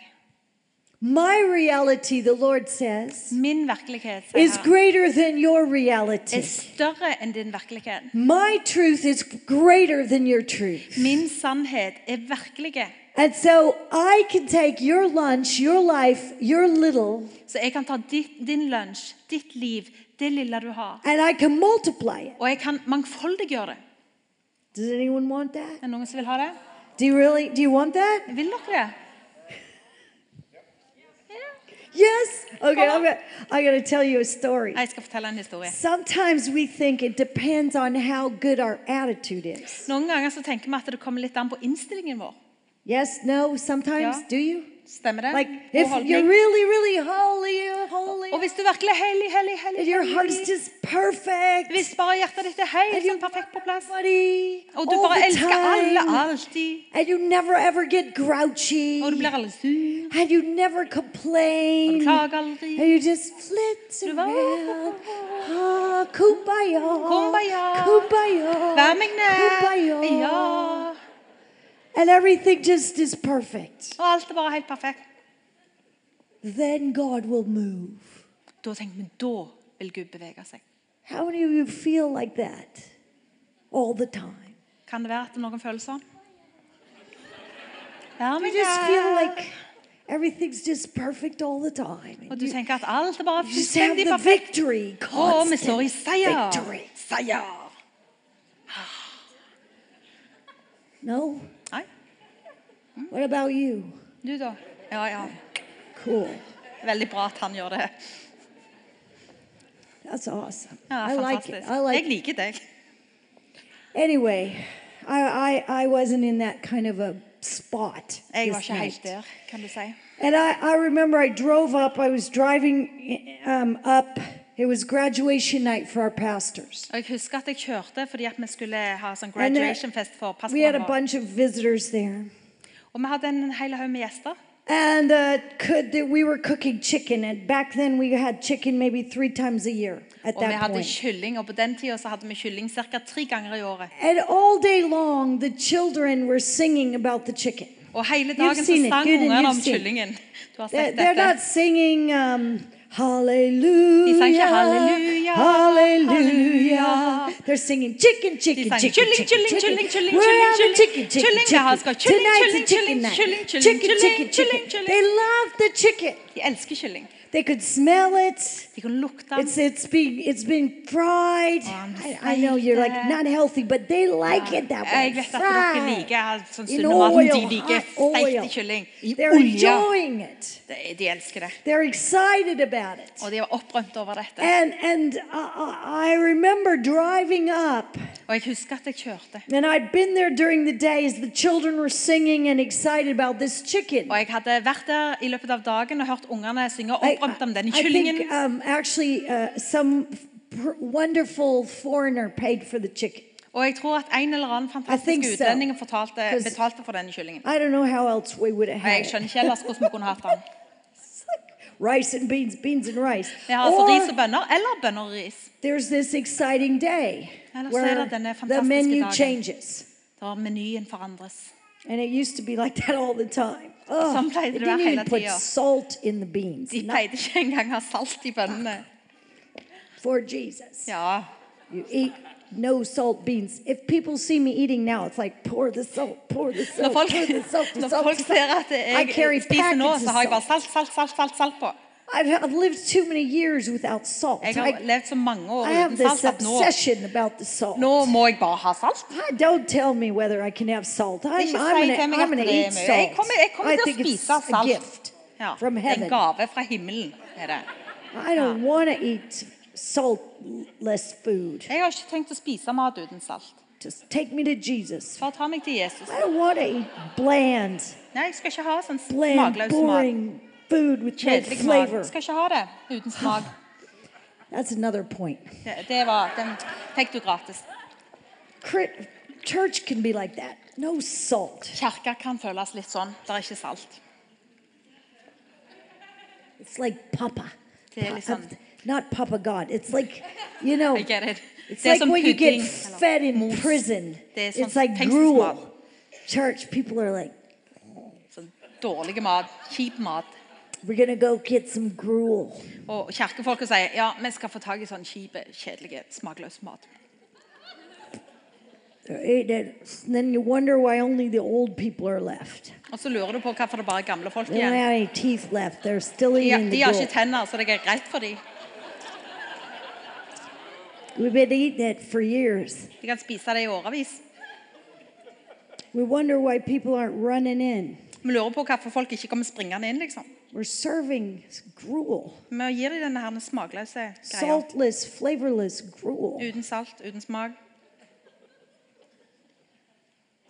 S1: My reality, the Lord says,
S2: Min virkelighet sier
S1: is
S2: Herren,
S1: greater than your
S2: er
S1: reality.
S2: større enn din virkelighet.
S1: My truth is greater than your truth.
S2: Min sannhet er virkelige.
S1: And so I can take your lunch, your life, your little,
S2: Så jeg kan ta ditt, din lunsj, ditt liv, det lille du har,
S1: and I can multiply it.
S2: og jeg kan mangfoldiggjøre det.
S1: Does anyone want that?
S2: Er det noen som vil ha det?
S1: Do you really do you want that?
S2: Vil dere det?
S1: Yes? Okay, I'm gonna, I'm gonna tell you a story.
S2: Jeg skal fortelle en historie.
S1: Sometimes we think it depends on how good our attitude is.
S2: Noen ganger så tenker vi at det kommer litt an på innstillingen vår.
S1: Yes, no, sometimes,
S2: Yeah.
S1: do you?
S2: Stemmer det?
S1: Like,
S2: Og
S1: if
S2: holdning.
S1: you're really, really holy, holy,
S2: Og hvis du virkelig er hellig, hellig, hellig,
S1: and your
S2: hellig,
S1: heart is
S2: hellig
S1: just perfect,
S2: Hvis bare hjertet ditt er helt
S1: and you
S2: sånn perfekt på plass,
S1: everybody
S2: og Oh, du
S1: all
S2: bare
S1: the
S2: elsker alle
S1: time,
S2: alltid,
S1: and you never ever get grouchy,
S2: og Oh, du blir aldri sur,
S1: and you never
S2: og
S1: complain,
S2: du klager aldri
S1: and you just flit
S2: Du "Oh, bare-
S1: around, ah, kumbaya,
S2: oh, Kumbaya.
S1: kumbaya,
S2: Vær meg nær.
S1: kumbaya,
S2: Ja.
S1: and everything just is perfect,
S2: Og alt er bare helt perfekt.
S1: then God will move.
S2: Da tenker vi da vil Gud bevege seg.
S1: How many of you feel like that all the time?
S2: Kan det være at noen føler sånn? Vær
S1: You
S2: meg
S1: just feel
S2: nær.
S1: like everything's just perfect all the time.
S2: Og
S1: and
S2: du
S1: You
S2: tenker at alt er bare
S1: you just have
S2: fullstendig
S1: the
S2: perfekt.
S1: victory,
S2: Å, vi står
S1: constant
S2: i seier.
S1: victory.
S2: Seier.
S1: *sighs* No?
S2: Nei,
S1: What about you?
S2: du da? Ja, ja.
S1: Cool.
S2: Veldig bra at han gjør det.
S1: That's awesome.
S2: Ja,
S1: I like it.
S2: fantastisk.
S1: I like
S2: Jeg liker deg.
S1: Anyway, I, I, I wasn't in that kind of a spot.
S2: Jeg var
S1: this
S2: ikke
S1: night.
S2: helt der, kan du si.
S1: And I, I remember I drove up, I was driving um, up. It was graduation night for our pastors.
S2: Og jeg husker at jeg kjørte fordi at vi skulle ha sånn
S1: And there-
S2: graduation-fest for
S1: We had a
S2: pastoren vår.
S1: bunch of visitors there.
S2: Og vi hadde en hel haug med gjester.
S1: And uh, could that we were cooking chicken, and back then we had chicken maybe three times a year at
S2: Og vi
S1: that
S2: hadde
S1: point.
S2: kylling, og på den tida så hadde vi kylling ca. tre ganger i året.
S1: And all day long, the children were singing about the chicken.
S2: Og hele
S1: You've
S2: dagen så
S1: seen it.
S2: sang
S1: Good and
S2: ungene
S1: you've
S2: om
S1: seen it.
S2: kyllingen. Du har
S1: They're,
S2: sett
S1: they're not
S2: dette.
S1: singing um, hallelujah, hallelujah.
S2: "Hallelujah, hallelujah."
S1: They're singing chicken, chicken,
S2: sang,
S1: chicken,
S2: "Kylling,
S1: chicken,
S2: kylling, kylling, kylling,
S1: We're
S2: kylling,
S1: having
S2: kylling,
S1: chicken, chicken,
S2: kylling. Jeg har
S1: chicken.
S2: skal kylling,
S1: Tonight's a
S2: kylling,
S1: chicken
S2: kylling,
S1: night.
S2: kylling, kylling,
S1: Chicken,
S2: kylling,
S1: chicken,
S2: kylling,
S1: chicken.
S2: kylling.
S1: They loved the chicken.
S2: De elsker kylling.
S1: They could smell it.
S2: De kunne lukte den.
S1: It's it's been it's been fried.
S2: Um, I'm
S1: I, I know you're like not healthy, but they like it that way.
S2: Jeg vet at dere
S1: fried.
S2: liker sånn
S1: In
S2: sunne maten. De
S1: oil,
S2: liker
S1: hot oil.
S2: feit kylling i
S1: They're
S2: olje.
S1: enjoying it.
S2: De de elsker det.
S1: They're excited about it.
S2: Og de var opprømt over dette.
S1: And and I- I, I remember driving up,
S2: Og jeg husker at jeg kjørte.
S1: and I'd been there during the day as the children were singing and excited about this chicken.
S2: Og jeg hadde vært der i løpet av dagen og hørt ungene synge
S1: I,
S2: opprømt om denne
S1: I
S2: kyllingen.
S1: think um, actually uh, some f- wonderful foreigner paid for the chicken.
S2: Og jeg tror at en eller annen
S1: I think
S2: fantastisk
S1: so.
S2: utlending fortalte,
S1: 'Cause-
S2: betalte for denne kyllingen.
S1: I don't know how else we would have
S2: Og jeg
S1: had it.
S2: skjønner ikke ellers hvordan vi kunne hatt den.
S1: *laughs* It's like rice and beans, beans and rice.
S2: Vi har altså ris og
S1: Or
S2: bønner, eller bønner og ris.
S1: there's this exciting day
S2: Eller så er
S1: where
S2: det denne
S1: the
S2: fantastiske
S1: menu
S2: dagen.
S1: changes.
S2: Da menyen forandres.
S1: And it used to be like that all the time. Oh,
S2: Som
S1: they
S2: pleide det å være
S1: didn't even
S2: hele
S1: put
S2: tida.
S1: salt in the beans.
S2: De
S1: Not
S2: pleide ikke engang å ha salt i bønnene.
S1: for Jesus.
S2: Ja.
S1: You eat no salt beans. If people see me eating now, it's like pour the salt, pour the
S2: Når
S1: salt,
S2: folk,
S1: pour the Oh,
S2: *laughs*
S1: salt, the
S2: når
S1: salt.
S2: folk eh,
S1: the
S2: ser
S1: salt.
S2: at
S1: I carry
S2: jeg spiser nå,
S1: packets
S2: så
S1: of
S2: har jeg bare
S1: salt.
S2: salt, salt, salt, salt, salt på.
S1: I've, I've lived too many years without salt.
S2: Jeg har
S1: I,
S2: levd så mange år
S1: I have
S2: uten
S1: this
S2: salt at nå,
S1: obsession about the salt.
S2: nå må jeg bare ha salt.
S1: I don't tell me whether I can have salt. I'm,
S2: Ikke
S1: I'm
S2: si til
S1: going
S2: meg at
S1: to
S2: det
S1: eat
S2: er mye. Jeg
S1: salt.
S2: kommer, jeg
S1: I
S2: kommer til
S1: think
S2: å
S1: it's
S2: spise
S1: a
S2: salt.
S1: gift
S2: Ja,
S1: from
S2: en
S1: heaven.
S2: gave fra himmelen er det.
S1: I don't want to eat saltless food.
S2: Jeg har ikke tenkt å spise mat uten salt.
S1: Just take me to Jesus.
S2: Bare ta meg til Jesus.
S1: I don't want to eat bland,
S2: Nei, jeg skal ikke ha sånn
S1: bland,
S2: smakløs mat.
S1: boring food with no
S2: Kjedelig mat.
S1: flavor.
S2: Jeg skal ikke ha det uten smak.
S1: That's another point.
S2: Det, det var, Den fikk du gratis.
S1: Cri- Church can be like that. No salt.
S2: Kirker kan føles litt sånn. Det er ikke salt.
S1: It's like Papa.
S2: Det er
S1: Pa-
S2: liksom-
S1: Not Papa God. It's like, you know,
S2: *laughs* I get it.
S1: it's
S2: Det er
S1: like
S2: som
S1: when you get
S2: pudding.
S1: fed
S2: eller
S1: in
S2: mos.
S1: prison.
S2: Det er som
S1: It's like
S2: fengselsmat.
S1: gruel. Church, people are like,
S2: Sånn dårlig mat. Kjip mat.
S1: we're going to go get some gruel.
S2: Og kirkefolka sier ja, vi skal få tak i sånn kjip, kjedelig, smakløs mat.
S1: They're ate it. And then you wonder why only the old people are left.
S2: Og så lurer du på hvorfor det bare er gamle folk
S1: They don't
S2: igjen.
S1: have any teeth left. They're still
S2: Ja,
S1: eating
S2: de
S1: the
S2: har
S1: gruel.
S2: ikke tenner, så det er greit for dem.
S1: We've been eating it for years.
S2: De kan spise det i årevis.
S1: We wonder why people aren't running in.
S2: Vi lurer på hvorfor folk ikke kommer springende inn, liksom.
S1: We're serving gruel,
S2: Med å gi dem denne her smakløse greia.
S1: saltless, flavorless gruel.
S2: Uten salt, uten smak.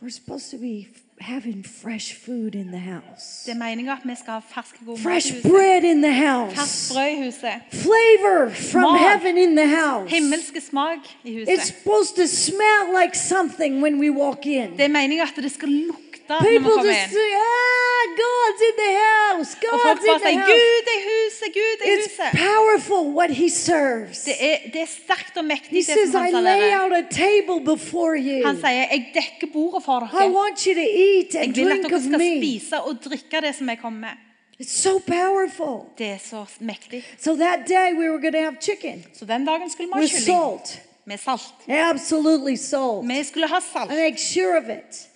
S1: We're supposed to be f- having fresh food in the house,
S2: Det er meninga at vi skal ha fersk, god mat i
S1: fresh
S2: huset.
S1: bread in the
S2: Ferskt
S1: house,
S2: brød i huset.
S1: flavor from
S2: Mat.
S1: heaven in the house.
S2: Himmelske smak i
S1: It's
S2: huset.
S1: supposed to smell like something when we walk in.
S2: Det er meninga at det skal lukte når vi
S1: People
S2: kommer
S1: just
S2: inn.
S1: say, ah, God's in the house,
S2: Og folk
S1: God's
S2: bare
S1: in
S2: sier
S1: the house.
S2: 'Gud er i huset, Gud er i
S1: It's
S2: huset'.
S1: powerful what He serves.
S2: Det er, det er sterkt og
S1: He
S2: mektig, det
S1: says,
S2: som
S1: I
S2: han
S1: lay
S2: serverer.
S1: out a table before
S2: Han
S1: you.
S2: sier 'Jeg dekker bordet for
S1: I
S2: dere'.
S1: want you to eat
S2: Jeg
S1: and
S2: vil at
S1: drink
S2: dere
S1: of
S2: skal
S1: me.
S2: spise og drikke det som jeg kommer med.
S1: It's so powerful.
S2: Det er så mektig.
S1: So that day we were going to have chicken
S2: Så den dagen skulle vi ha
S1: with
S2: kylling
S1: salt.
S2: med salt.
S1: Absolutely salt.
S2: Vi skulle ha
S1: I
S2: salt.
S1: make sure of it.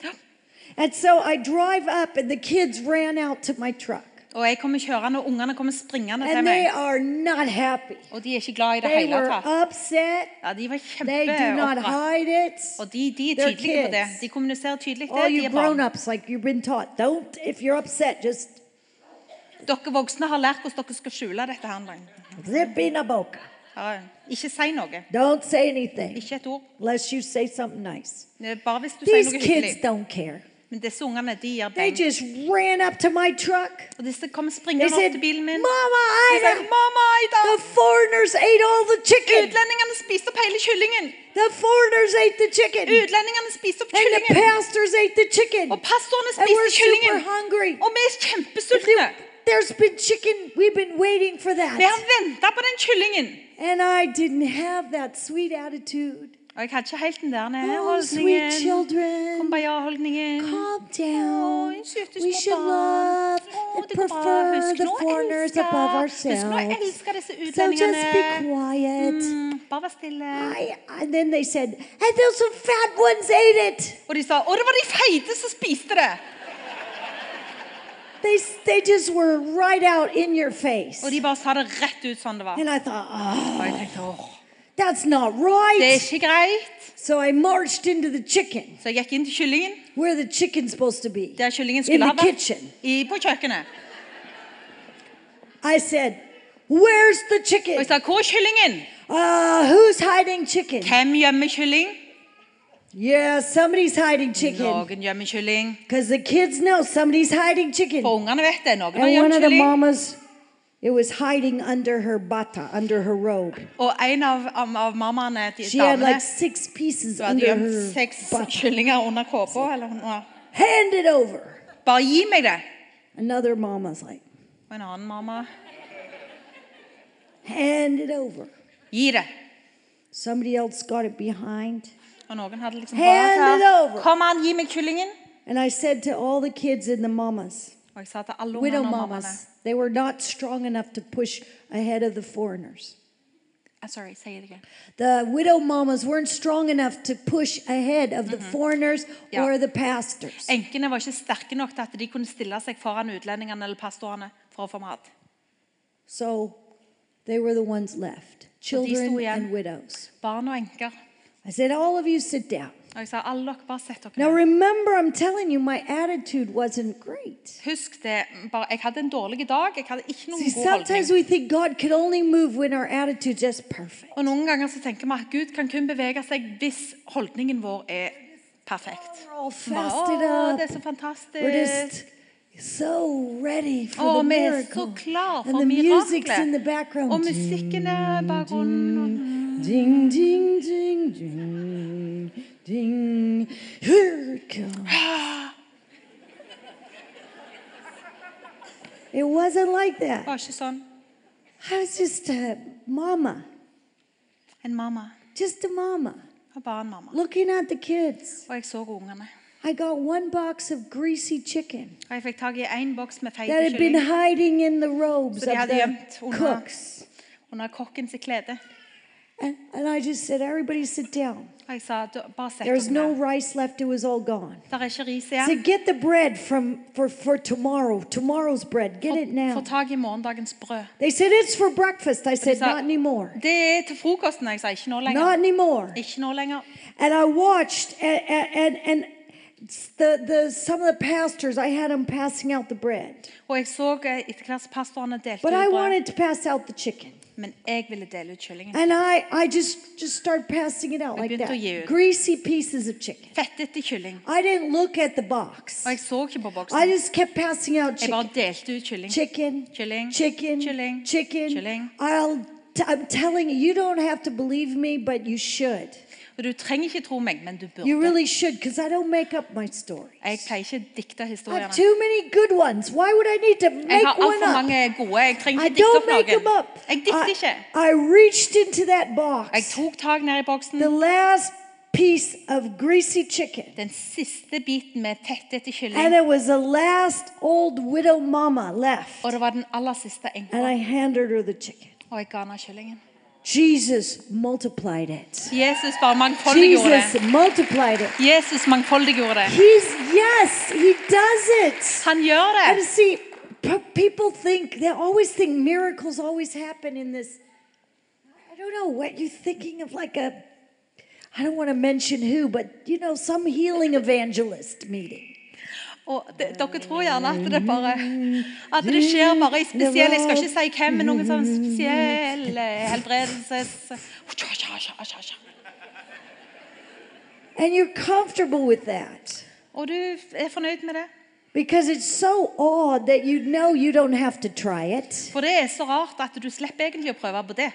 S1: And so I drive up and the kids ran out to my truck.
S2: Og jeg kommer kjørende, og ungene kommer springende til
S1: And they
S2: meg.
S1: are not happy.
S2: Og de er ikke glad i det
S1: They
S2: hele
S1: were
S2: tatt.
S1: upset.
S2: Ja, de var
S1: They do not
S2: kjempeopprørt.
S1: hide it.
S2: Og de, de er
S1: They're
S2: tydelige på det.
S1: kids.
S2: De kommuniserer tydelig det.
S1: All
S2: De
S1: you
S2: er barn.
S1: grown-ups, like you've been taught, don't, if you're upset, just
S2: Dere voksne har lært hvordan dere skal skjule dette. her
S1: zip in a boca.
S2: ja, Ikke si noe.
S1: Don't say anything.
S2: Ikke et ord.
S1: unless you say something nice.
S2: Det er Bare hvis du sier
S1: These
S2: noe
S1: kids
S2: hyggelig.
S1: don't care.
S2: Men disse ungene de gir
S1: They
S2: beng.
S1: just ran up to my truck.
S2: Og disse kommer
S1: They
S2: springende
S1: said,
S2: opp til bilen min.
S1: Mama,
S2: De sier,
S1: Ida,
S2: 'Mamma, Aida!
S1: the foreigners ate all the chicken.
S2: Utlendingene spiste opp hele kyllingen!
S1: The foreigners ate the chicken.
S2: Utlendingene spiste opp
S1: And the
S2: kyllingen!
S1: pastors ate the chicken.
S2: Og pastorene
S1: And we're
S2: spiste
S1: super
S2: kyllingen!
S1: hungry.
S2: Og vi er kjempesultne!
S1: Oh, There's been chicken. We've been waiting for
S2: Vi har
S1: that.
S2: venta på den kyllingen!
S1: And I didn't have that sweet attitude.
S2: Og jeg hadde ikke helt den der nede
S1: Oh, sweet
S2: holdningen.
S1: children.
S2: Kumbaya-holdningen.
S1: Calm down.
S2: Oi, søte
S1: We
S2: små
S1: should
S2: barn.
S1: love
S2: Å,
S1: and
S2: det går bra.
S1: prefer
S2: Husk
S1: Oh, the
S2: nå å
S1: foreigners
S2: elske.
S1: above
S2: Husk nå å
S1: ourselves.
S2: elske disse
S1: So just be
S2: utlendingene.
S1: quiet.
S2: Mm, bare vær stille.
S1: I, and then they said, and those some fat ones ate it.
S2: Og de sa 'Å, det var de feite som spiste det'.
S1: They, s- they just were right out in your face.
S2: Og de bare sa det rett ut sånn det var.
S1: And I thought, oh,
S2: Og jeg tenkte, åh,
S1: that's not
S2: Det er
S1: right.
S2: ikke greit.
S1: So I marched into the chicken,
S2: Så jeg gikk inn til kyllingen,
S1: where the chicken's supposed to be,
S2: der kyllingen
S1: in
S2: skulle ha
S1: the
S2: vært.
S1: kitchen.
S2: I, på kjøkkenet.
S1: I said, where's the
S2: Og jeg
S1: chicken?
S2: sa 'Hvor er kyllingen?'
S1: Uh, who's hiding chicken?
S2: Hvem gjemmer kylling?
S1: Yeah, somebody's hiding chicken.
S2: Noen gjemmer kylling.
S1: Because the kids know somebody's hiding chicken.
S2: For ungene vet det. Noen har
S1: And one
S2: gjemt
S1: of the
S2: kylling.
S1: mamas It was hiding under her bata, under her robe.
S2: Og en av, av, av mammaene til
S1: She had
S2: damene
S1: like six pieces
S2: Hun hadde
S1: under
S2: gjemt
S1: her
S2: seks
S1: bata.
S2: kyllinger under kåpa. eller noe.
S1: Hand it over.
S2: Bare gi meg det!
S1: Another mama's like,
S2: Og en annen mamma
S1: hand it over.
S2: gi det.
S1: Somebody else got it behind.
S2: Og noen hadde liksom
S1: Hand
S2: bare
S1: it over.
S2: tatt Kom an, gi meg kyllingen.
S1: And I said to all the kids and the mamas,
S2: Og jeg sa til alle
S1: widow
S2: ungene og mammaene
S1: mamas, they were not strong enough to push ahead of the foreigners.
S2: Ah, Sorry, si det igjen.
S1: The widow mamas weren't strong enough to push ahead of the foreigners
S2: Yeah.
S1: or the pastors.
S2: Enkene var ikke sterke nok til at de kunne stille seg foran utlendingene eller pastorene for å få mat.
S1: So they were the ones left children
S2: igjen.
S1: and widows.
S2: Barn og enker.
S1: I said, All of you sit down.
S2: Og jeg sa alle dere, bare sett
S1: Now
S2: dere ned.
S1: remember, I'm telling you, my attitude wasn't great.
S2: Husk det. Bare, jeg hadde en dårlig dag. Jeg hadde ikke
S1: See,
S2: noen god
S1: sometimes
S2: holdning.
S1: we think God could only move when our attitude's just perfect.
S2: Og noen ganger så tenker vi at Gud kan kun bevege seg hvis holdningen vår er perfekt.
S1: We're all Oh,
S2: Vi bare,
S1: fasted
S2: Å,
S1: up.
S2: det er så
S1: We're
S2: fantastisk.
S1: just Oh, so ready for
S2: Å,
S1: the
S2: vi er så
S1: miracle.
S2: klar
S1: And
S2: for
S1: the music's in the
S2: miraklet. Og
S1: background.
S2: musikken er i bakgrunnen.
S1: Ding, ding, ding, ding, *sighs* ding. Here it comes. It wasn't like
S2: Det
S1: that.
S2: var ikke sånn.
S1: I was just a mama,
S2: En mamma
S1: just a mama,
S2: og bare en mamma.
S1: looking at the kids.
S2: Og jeg så ungene.
S1: I got one box of greasy chicken
S2: Og jeg fikk tak i en boks med
S1: that had been
S2: feitekylling
S1: hiding in the robes
S2: Så de
S1: of
S2: hadde gjemt
S1: the
S2: under-
S1: cooks.
S2: under kokken sitt klede.
S1: And, and I just said, everybody sit down.
S2: Og jeg sa, "Du, bare sett
S1: There was
S2: dere
S1: no
S2: ned.
S1: rice left, it was all gone.
S2: Der er ikke ris
S1: So
S2: igjen.
S1: get the bread from for, for tomorrow, tomorrow's bread. Get it
S2: Få
S1: now.
S2: tak i morgendagens brød.
S1: They said it's for breakfast. I said
S2: sa-
S1: not anymore.
S2: Det er til frokosten. Jeg sa ikke nå
S1: Not
S2: lenger.
S1: anymore.
S2: Ikke nå lenger.
S1: And I watched and and, and the, the some of the pastors I had them passing out the bread.
S2: Og jeg så eh, etter hvert som pastorene delte ut
S1: But I
S2: brød.
S1: wanted to pass out the chicken.
S2: Men jeg ville dele ut kyllingen.
S1: And I I just just started passing it out like
S2: begynte å gi
S1: that.
S2: ut.
S1: Greasy pieces of chicken.
S2: Fettete kylling.
S1: I didn't look at the box.
S2: Og jeg så ikke på
S1: I
S2: boksen.
S1: just kept passing out
S2: Jeg
S1: chicken.
S2: bare delte ut kylling.
S1: chicken,
S2: Chilling.
S1: chicken,
S2: Chilling.
S1: chicken.
S2: Chilling.
S1: I'll. T- I'm telling you, you don't have to believe me, but you should.
S2: Og du trenger ikke tro meg, men du
S1: You
S2: burde.
S1: really should, because I don't make up my stories.
S2: Jeg pleier ikke å dikte
S1: I have
S2: historiene.
S1: too many good ones. Why would I need to
S2: Jeg
S1: make
S2: har
S1: one
S2: altfor
S1: up?
S2: mange gode. Jeg trenger
S1: I
S2: ikke dikte
S1: don't make
S2: opp
S1: them
S2: noen.
S1: up.
S2: Jeg dikter ikke.
S1: I, I reached into that
S2: Jeg
S1: box,
S2: tok tak ned i boksen.
S1: the last piece of greasy chicken,
S2: Den siste biten med fettete
S1: and
S2: kylling.
S1: it was the last old widow mama left.
S2: Og det var den aller siste enka.
S1: And I handed her the chicken.
S2: Og jeg ga henne kyllingen.
S1: Jesus multiplied it.
S2: Jesus bare mangfoldiggjorde det.
S1: Jesus multiplied it.
S2: Jesus mangfoldiggjorde det.
S1: He's yes, he does it.
S2: Han gjør
S1: And
S2: det.
S1: see, p- people think they always think miracles always happen in this. I don't know what you're thinking of, like a. I don't want to mention who, but you know, some healing evangelist meeting.
S2: Og de, dere tror gjerne at det bare At det skjer bare i spesielle Jeg skal ikke si hvem, men noen sånn spesielle helbredelses...
S1: And you're comfortable with that
S2: Og du er fornøyd med det?
S1: because it's so odd that you know you don't have to try it.
S2: For det er så rart at du slipper egentlig å prøve på det.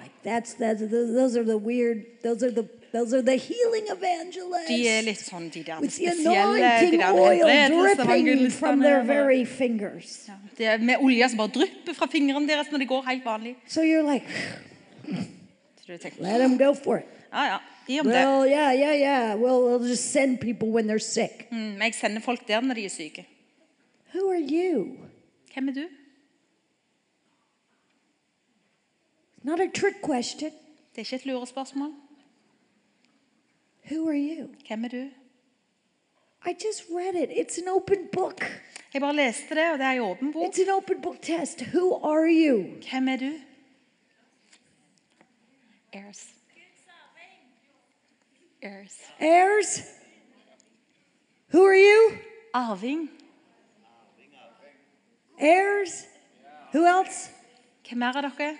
S1: Like that's that's those are the weird. Those are the those are the healing evangelists.
S2: De er litt sånn de der
S1: with the
S2: spesielle de
S1: anointing
S2: der
S1: oil dripping from their
S2: helbredelsesevangelistene.
S1: very fingers.
S2: Ja, det er med olje som bare drypper fra fingrene deres når de går helt vanlig.
S1: So you're like,
S2: Så du tenker,
S1: let them go for it.
S2: ja, ja, gi om det.
S1: Well, yeah, yeah, yeah. Well, we'll just send people when they're sick.
S2: Mm, jeg sender folk der når de er syke.
S1: Who are you?
S2: Hvem er du?
S1: Not a trick question.
S2: Det er ikke et lurespørsmål.
S1: Who are you?
S2: Hvem er du?
S1: I just read it. It's an open book.
S2: Jeg bare leste det, og det er i åpen bok.
S1: It's an open book test. Who are you?
S2: Hvem er du? Airs. Airs.
S1: Heirs? Who are you?
S2: Arving.
S1: Heirs? Who else?
S2: Hvem er dere?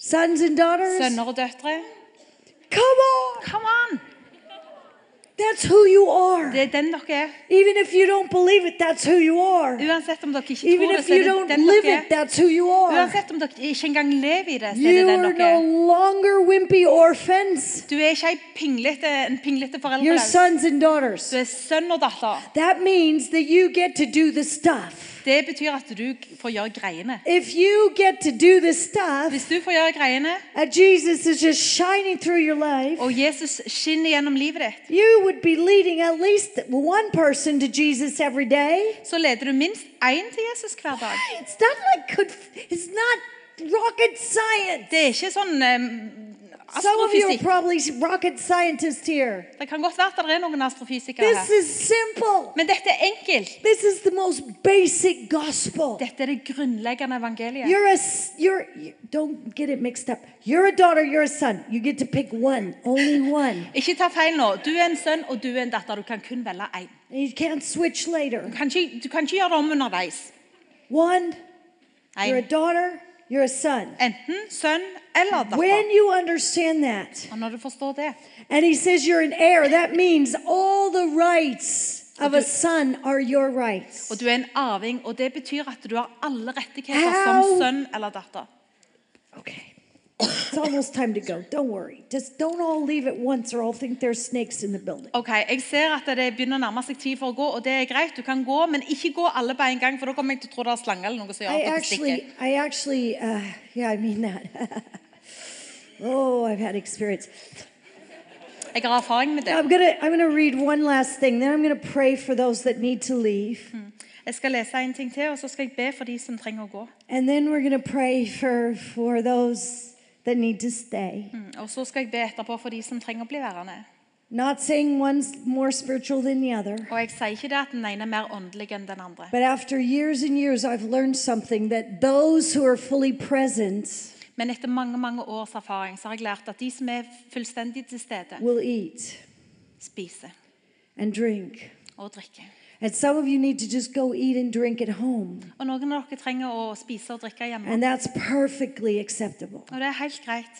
S1: Sons and daughters?
S2: Sønner og døtre?
S1: Come on!
S2: Come on!
S1: That's who you are.
S2: Det er den dere er.
S1: Even if you don't believe it, that's who you are.
S2: Uansett om dere ikke
S1: Even
S2: tror det,
S1: if
S2: så
S1: you
S2: er det
S1: don't
S2: den
S1: live
S2: dere
S1: it,
S2: er.
S1: that's who you are.
S2: Uansett om dere ikke engang lever i det, så er
S1: You
S2: det den
S1: are
S2: dere
S1: no
S2: er.
S1: longer wimpy orphans.
S2: Du er ikke ei pinglete, en pinglete
S1: You're
S2: foreldreløs.
S1: sons and daughters.
S2: Du er sønn og datter.
S1: That means that you get to do the stuff.
S2: Det betyr at du får gjøre greiene.
S1: If you get to do the stuff,
S2: Hvis du får gjøre greiene,
S1: and Jesus is just shining through your life,
S2: og Jesus skinner gjennom livet ditt,
S1: you would be leading at least one person to Jesus every day.
S2: så leder du minst én til Jesus hver dag.
S1: It's not like good, it's not rocket science.
S2: Det er ikke sånn eh,
S1: Some of you are
S2: astrofysikk.
S1: probably rocket scientists here.
S2: Det kan godt være at det er noen astrofysikere
S1: This
S2: her.
S1: is simple.
S2: Men dette er enkelt.
S1: This is the most basic gospel.
S2: Dette er det grunnleggende evangeliet.
S1: You're a s- you're you- don't get it mixed up. You're a daughter, you're a son. You get to pick one, only one.
S2: Ikke ta feil nå. Du er en sønn, og du er en datter. Du kan kun velge én.
S1: And You can't switch later.
S2: Du, kan ikke- du kan ikke gjøre det om underveis.
S1: One, you're a
S2: En.
S1: daughter, you're a son.
S2: Enten sønn eller datter.
S1: When you understand that,
S2: Og når du forstår det,
S1: and he says you're an heir, that means all the rights of a son are your rights.
S2: og du er en arving, og det betyr at du har alle rettigheter
S1: Au!
S2: som sønn eller datter.
S1: Okay. It's almost time to go. Don't worry. Just don't all leave at once or I'll think there's snakes in the building.
S2: Ok, Jeg ser at det begynner å nærme seg tid for å gå, og det er greit. Du kan gå, men ikke gå alle på en gang, for da kommer jeg til å tro det er slange eller noe som gjør
S1: I
S2: at dere stikker.
S1: actually, I actually, uh, yeah, I mean that. *laughs* oh, I've had experience.
S2: Jeg har erfaring med det.
S1: I'm gonna, I'm gonna read one last thing. Then I'm gonna pray for those that need to leave,
S2: Jeg skal lese en ting til, og så skal jeg be for de som trenger å gå.
S1: and then we're gonna pray for for those that need to stay.
S2: Mm, Og så skal jeg be etterpå for de som trenger å bli værende.
S1: Not saying one's more spiritual than the other,
S2: Og jeg sier ikke det at den ene er mer åndelig enn den andre.
S1: but after years and years, I've learned something that those who are fully present
S2: Men etter mange mange års erfaring så har jeg lært at de som er fullstendig til stede,
S1: will eat
S2: spiser
S1: and drink.
S2: og drikker.
S1: And some of you need to just go eat and drink at home,
S2: Og noen av dere trenger å spise og drikke hjemme.
S1: and that's perfectly acceptable.
S2: Og det er helt greit.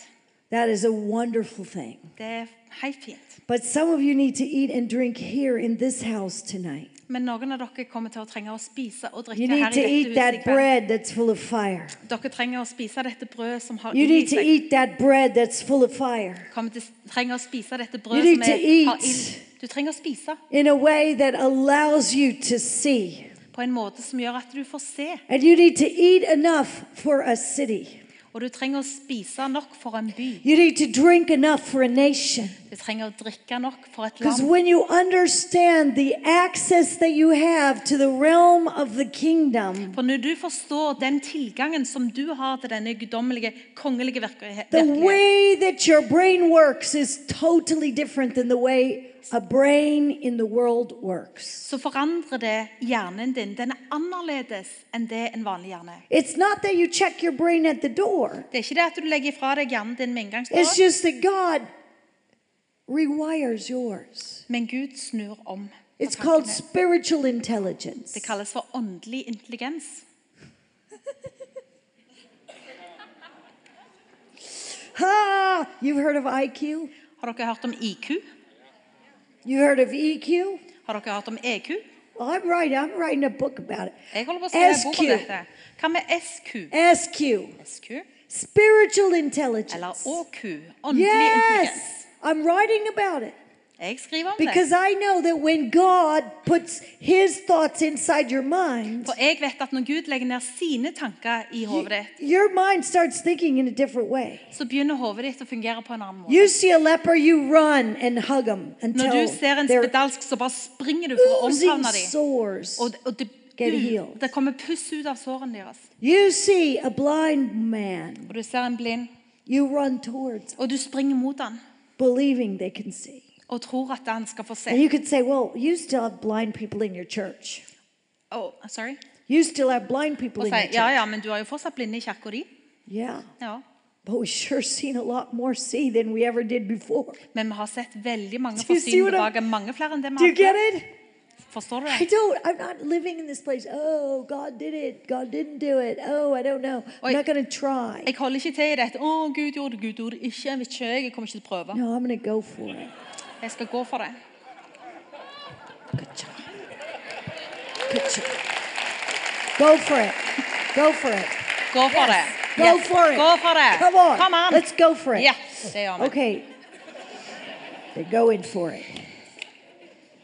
S1: That is a wonderful thing.
S2: Det er helt fint.
S1: But some of you need to eat and drink here in this house tonight.
S2: Men noen av dere kommer til å trenge å spise og
S1: You
S2: drikke
S1: need
S2: her i
S1: to
S2: dette
S1: eat
S2: huset i
S1: that
S2: kveld.
S1: bread that's full of fire.
S2: Dere trenger å spise dette brødet som har
S1: Oh, You
S2: ild i
S1: need to
S2: seg.
S1: eat that bread that's full of fire
S2: Kommer til, trenger å spise dette
S1: You
S2: brødet
S1: need
S2: som
S1: to
S2: er, har
S1: eat.
S2: ild. Du trenger å spise
S1: in a way that allows you to see.
S2: på en måte som gjør at du får se.
S1: And you need to eat enough for a city.
S2: Og du trenger å spise nok for en by.
S1: You need to drink enough for a nation.
S2: Du trenger å drikke nok for et
S1: Because
S2: land.
S1: when you understand the access that you have to the realm of the kingdom,
S2: For når du forstår den tilgangen som du har til denne guddommelige, kongelige virke-
S1: The
S2: virkeligheten,
S1: way that your brain works is totally different than the way a brain in the world works.
S2: så forandrer det hjernen din. Den er annerledes enn det en vanlig hjerne er.
S1: It's not that you check your brain at the door,
S2: Det er ikke det at du legger ifra deg hjernen din med
S1: it's
S2: inngangsdøra,
S1: just that God rewires yours.
S2: men Gud snur om. på
S1: It's called
S2: tankene.
S1: spiritual intelligence.
S2: Det kalles for åndelig intelligens.
S1: Ha! You've heard of IQ?
S2: Har dere hørt om IQ?
S1: You heard of EQ?
S2: Har dere hørt om EQ?
S1: Well, I'm right. I'm writing a book about it.
S2: Jeg holder på å skrive en bok om
S1: SQ.
S2: dette. Hva med SQ?
S1: SQ,
S2: SQ?
S1: spiritual intelligence.
S2: Eller ÅQ? Åndelig intelligens.
S1: Yes, I'm writing about it.
S2: Jeg skriver om det.
S1: Because I know that when God puts his thoughts inside your mind,
S2: For jeg vet at når Gud legger ned sine tanker i hodet ditt,
S1: your mind starts thinking in a different way.
S2: så begynner hodet ditt å fungere på en annen måte.
S1: You see a leper, you run and hug him
S2: Når
S1: until
S2: du ser en
S1: they're
S2: spedalsk, så bare springer du for å
S1: oozing
S2: omfavne dem.
S1: sores.
S2: Og, og det,
S1: Get
S2: ut,
S1: healed.
S2: det kommer puss ut av sårene deres.
S1: You see a blind man,
S2: Og du ser en blind,
S1: you run towards,
S2: og du springer mot han
S1: believing they can see.
S2: og tror at han skal få se.
S1: And you could say, well, you still have blind people in your church.
S2: Oh, sorry.
S1: You still have blind people
S2: Og
S1: in your
S2: sier
S1: church.
S2: ja, ja, men du har jo fortsatt blinde i kirka di.
S1: yeah,
S2: Ja.
S1: but we sure seen a lot more see than we ever did before.
S2: Men vi har sett veldig mange
S1: *laughs* Do you see what
S2: forsynede
S1: I'm-
S2: dager. Mange flere enn det
S1: Do
S2: vi
S1: you get
S2: har. hatt.
S1: it?
S2: Forstår du
S1: I
S2: det?
S1: don't. I'm not living in this place. Oh, God did it. God didn't do it. Oh, I don't know. I'm
S2: Oi.
S1: not going to try.
S2: Jeg holder ikke til i dette. Å, Gud gjorde det, Gud gjorde det ikke. Jeg vet ikke, jeg kommer ikke til å prøve.
S1: No, I'm going to go for it.
S2: Jeg skal gå for det.
S1: picture. Go for it. Go for it.
S2: Gå for det.
S1: Go for it.
S2: Gå for det.
S1: Come on.
S2: Come on.
S1: Let's go for it.
S2: Yes, det gjør vi.
S1: Okay. They're going for it.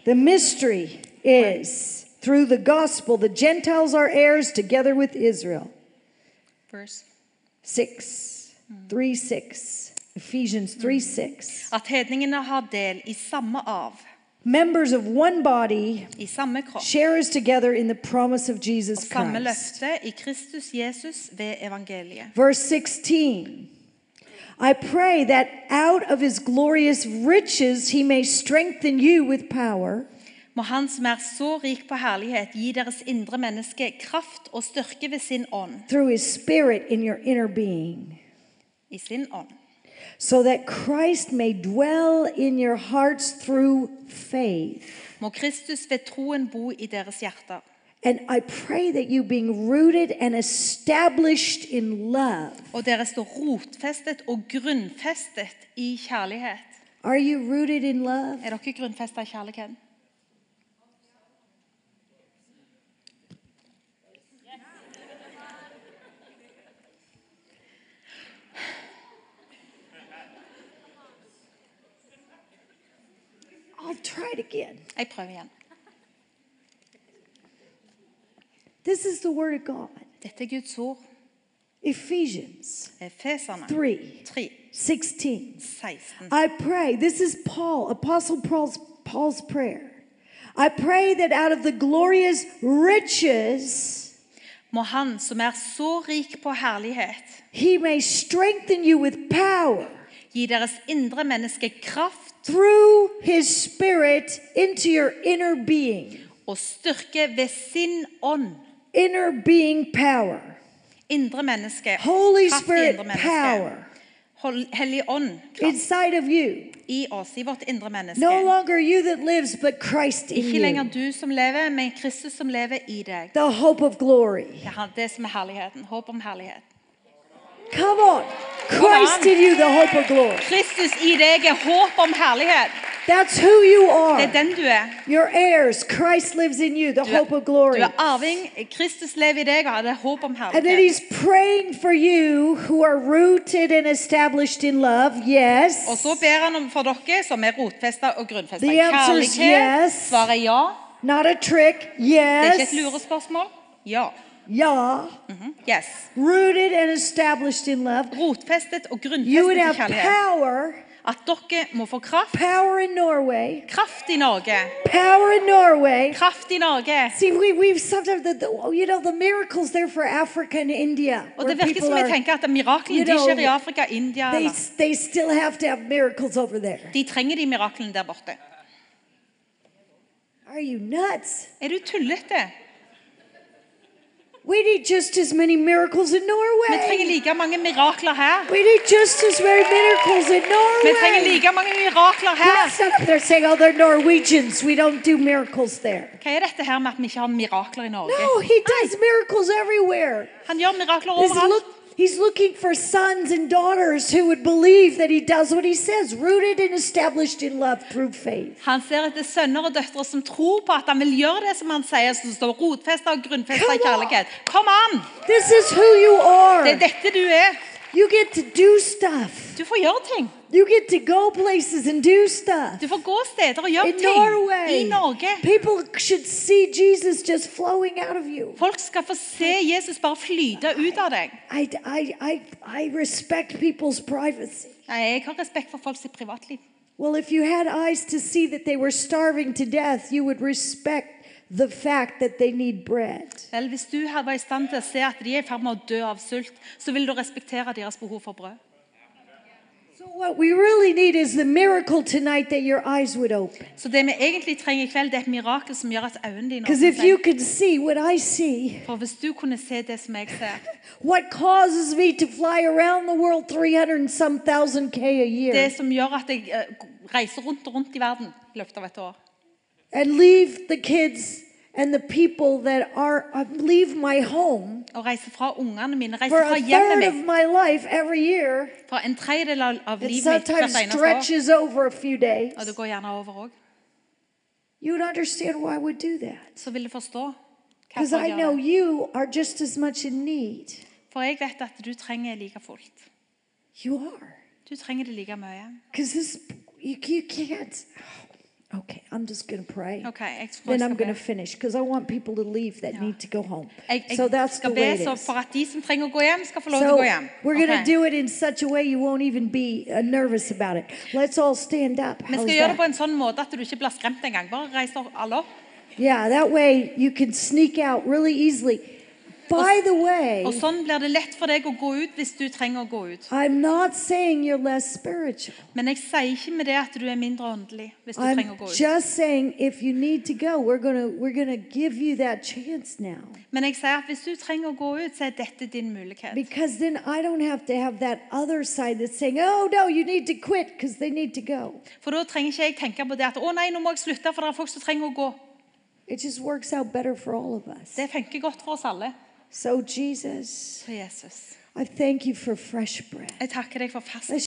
S1: The mystery is through the gospel, the Gentiles are heirs together with Israel.
S2: Verse.
S1: 6, 3 6. Ephesians 3 6.
S2: At hedningene har del i samme arv,
S1: Members of one body,
S2: i samme kropp,
S1: sharers together in the promise of Jesus
S2: samme
S1: Christ.
S2: løfte i Kristus Jesus ved evangeliet.
S1: Verse 16 I pray that out of his glorious riches he may strengthen you with power
S2: Må Han som er så rik på herlighet, gi deres indre menneske kraft og styrke ved sin ånd.
S1: through his spirit in your inner being,
S2: I sin ånd.
S1: so that Christ may dwell in your hearts through faith.
S2: Må Kristus ved troen bo i deres hjerter.
S1: And I pray that you, being rooted and established in love,
S2: Og dere står rotfestet og grunnfestet i kjærlighet.
S1: are you rooted in love?
S2: Er dere grunnfestet i kjærligheten?
S1: I'll try it again.
S2: Jeg prøver igjen.
S1: This is the Word of God.
S2: Dette er Guds ord.
S1: Ephesians
S2: Eh, Efeserne
S1: 3
S2: 3,
S1: 16.
S2: 16.
S1: I pray, this is Paul, Apostle Paul's, Paul's prayer. I pray that out of the glorious riches,
S2: Må Han som er så rik på herlighet,
S1: he may strengthen you with power
S2: gi deres indre menneske kraft
S1: through his spirit into your inner being.
S2: og styrke ved sin ånd.
S1: Inner being power.
S2: Indre menneske.
S1: Holy
S2: kraft i
S1: Spirit
S2: indre menneske.
S1: power
S2: Hol- Hellig ånd. Kraft
S1: inside of you.
S2: i oss, i vårt indre menneske.
S1: No longer you that lives, but Christ in
S2: Ikke lenger
S1: you.
S2: du som lever, men Kristus som lever i deg.
S1: The hope of glory.
S2: Det er han- det som er herligheten. Håp om herlighet.
S1: Come on. Christ
S2: on.
S1: in you, the hope of glory.
S2: Kristus i deg er håp om herlighet.
S1: That's who you are.
S2: Det er den du er.
S1: Your heirs, Christ lives in you, the
S2: Du
S1: hope
S2: er,
S1: of glory.
S2: du er arving. Kristus lever i deg, og det er håp om
S1: And then he's
S2: herlighet.
S1: praying for you who are rooted and established in love. Yes.
S2: Og så ber han om for dere som er rotfesta og grunnfesta.
S1: The answer is
S2: Kjærlighet.
S1: yes.
S2: Svaret er ja.
S1: Not a trick.
S2: Det er ikke et
S1: Yes.
S2: lurespørsmål. Ja.
S1: Yeah.
S2: Mhm. Yes.
S1: Rooted and established in love.
S2: Rotfestet og
S1: You would
S2: grunnfestet i
S1: have
S2: kjærlighet.
S1: power,
S2: At dere må få kraft.
S1: power in Norway,
S2: Kraft i Norge.
S1: power in Norway.
S2: Kraft i Norge.
S1: See, we, we've sometimes, the, the, oh, you know, the miracles there for Africa and India.
S2: Og
S1: where
S2: det virker
S1: people
S2: som vi
S1: are-
S2: tenker at miraklene
S1: you
S2: de
S1: know,
S2: skjer i Afrika, India
S1: they,
S2: eller.
S1: they still have to have miracles over there.
S2: De trenger de miraklene der borte.
S1: Are you nuts?
S2: Er du tullete?
S1: We need just as many miracles in
S2: Vi trenger
S1: Norway.
S2: like mange mirakler her.
S1: We need just as many miracles in
S2: Vi trenger
S1: Norway.
S2: like mange mirakler her.
S1: Let's not up there saying, oh, they're Norwegians. We don't do miracles there.
S2: Hva er dette her med at vi ikke har mirakler i Norge?
S1: No, he does miracles everywhere.
S2: Han gjør mirakler
S1: He's,
S2: overalt.
S1: look, he's looking for sons and daughters who would believe that he does what he says, rooted and established in love through faith.
S2: Han ser etter sønner og døtre som tror på at han vil gjøre det som han sier, som står rotfesta og grunnfesta i
S1: Come on.
S2: kjærlighet. Kom an!
S1: This is who you
S2: Det er
S1: are.
S2: dette du er.
S1: You get to do stuff.
S2: Du får gjøre ting.
S1: You get to go places and do stuff.
S2: Du får gå steder og gjøre
S1: In
S2: ting
S1: Norway.
S2: i Norge.
S1: People should see Jesus just flowing out of you.
S2: Folk skal få se Jesus bare flyte ut av deg.
S1: I, I, I, I respect people's privacy.
S2: Nei, Jeg har respekt for folks privatliv.
S1: Well, if you had eyes to see that they were starving to death, you would respect the fact that they need bread.
S2: Vel, Hvis du her var i stand til å se at de er i ferd med å dø av sult, så vil du respektere deres behov for brød.
S1: So, what we really need is the miracle tonight that your eyes would open.
S2: Så det vi egentlig trenger i kveld, det er et mirakel som gjør at øynene dine
S1: Because
S2: åpner
S1: if you
S2: seg.
S1: could see what I see,
S2: For hvis du kunne se det som jeg ser
S1: what causes me to fly around the world 300 and some thousand K a
S2: Det
S1: year
S2: som gjør at jeg eh, reiser rundt og rundt i verden i løpet av et år.
S1: and leave the kids and the people that are, uh, leave my home
S2: Og reiser fra ungene mine,
S1: for
S2: reiser fra
S1: a
S2: hjemmet
S1: third of
S2: mitt.
S1: my life every year.
S2: Fra en tredjedel av- av
S1: It
S2: livet mitt
S1: sometimes
S2: hvert eneste år.
S1: stretches over a few days.
S2: Og det går gjerne over òg.
S1: You would understand why I would do that.
S2: Så vil du forstå
S1: Because
S2: Hvorfor
S1: I
S2: gjør
S1: know
S2: det?
S1: you are just as much in need.
S2: For jeg vet at du trenger like fullt.
S1: You are.
S2: Du trenger det like mye.
S1: Because this, you, you can't. *sighs* Okay, I'm just going to pray.
S2: Ok, jeg tror
S1: Then
S2: jeg
S1: I'm
S2: skal
S1: going to
S2: be.
S1: finish because I want people to leave that
S2: Ja.
S1: need to go home.
S2: Jeg,
S1: so
S2: jeg
S1: that's the
S2: skal be
S1: way it
S2: så
S1: is.
S2: for at de som trenger å gå hjem, skal få lov til å
S1: So
S2: gå hjem.
S1: we're going to
S2: Ok.
S1: do it in such a way you won't even be uh, nervous about it. Let's all stand up.
S2: Vi
S1: How's
S2: skal gjøre det på
S1: that?
S2: en sånn måte at du ikke blir skremt engang. Bare reis dere alle opp.
S1: Yeah, that way you can sneak out really easily. By the
S2: Og
S1: way,
S2: sånn blir det lett for deg å gå ut hvis du trenger å gå ut.
S1: I'm not saying you're less spiritual.
S2: Men jeg sier ikke med det at du er mindre åndelig hvis du trenger
S1: I'm
S2: å gå ut.
S1: just saying if you need to go, we're going to we're going to give you that chance now.
S2: Men jeg sier at hvis du trenger å gå ut, så er dette din mulighet.
S1: Because then I don't have to have that other side that's saying, "Oh no, you need to quit because they need to go."
S2: For da trenger ikke jeg tenke på det at å nei, nå må jeg slutte, for det er folk som trenger å gå.
S1: It just works out better for all of us.
S2: Det funker godt for oss alle.
S1: So Jesus,
S2: Så Jesus,
S1: I thank you for fresh bread.
S2: jeg takker deg for fast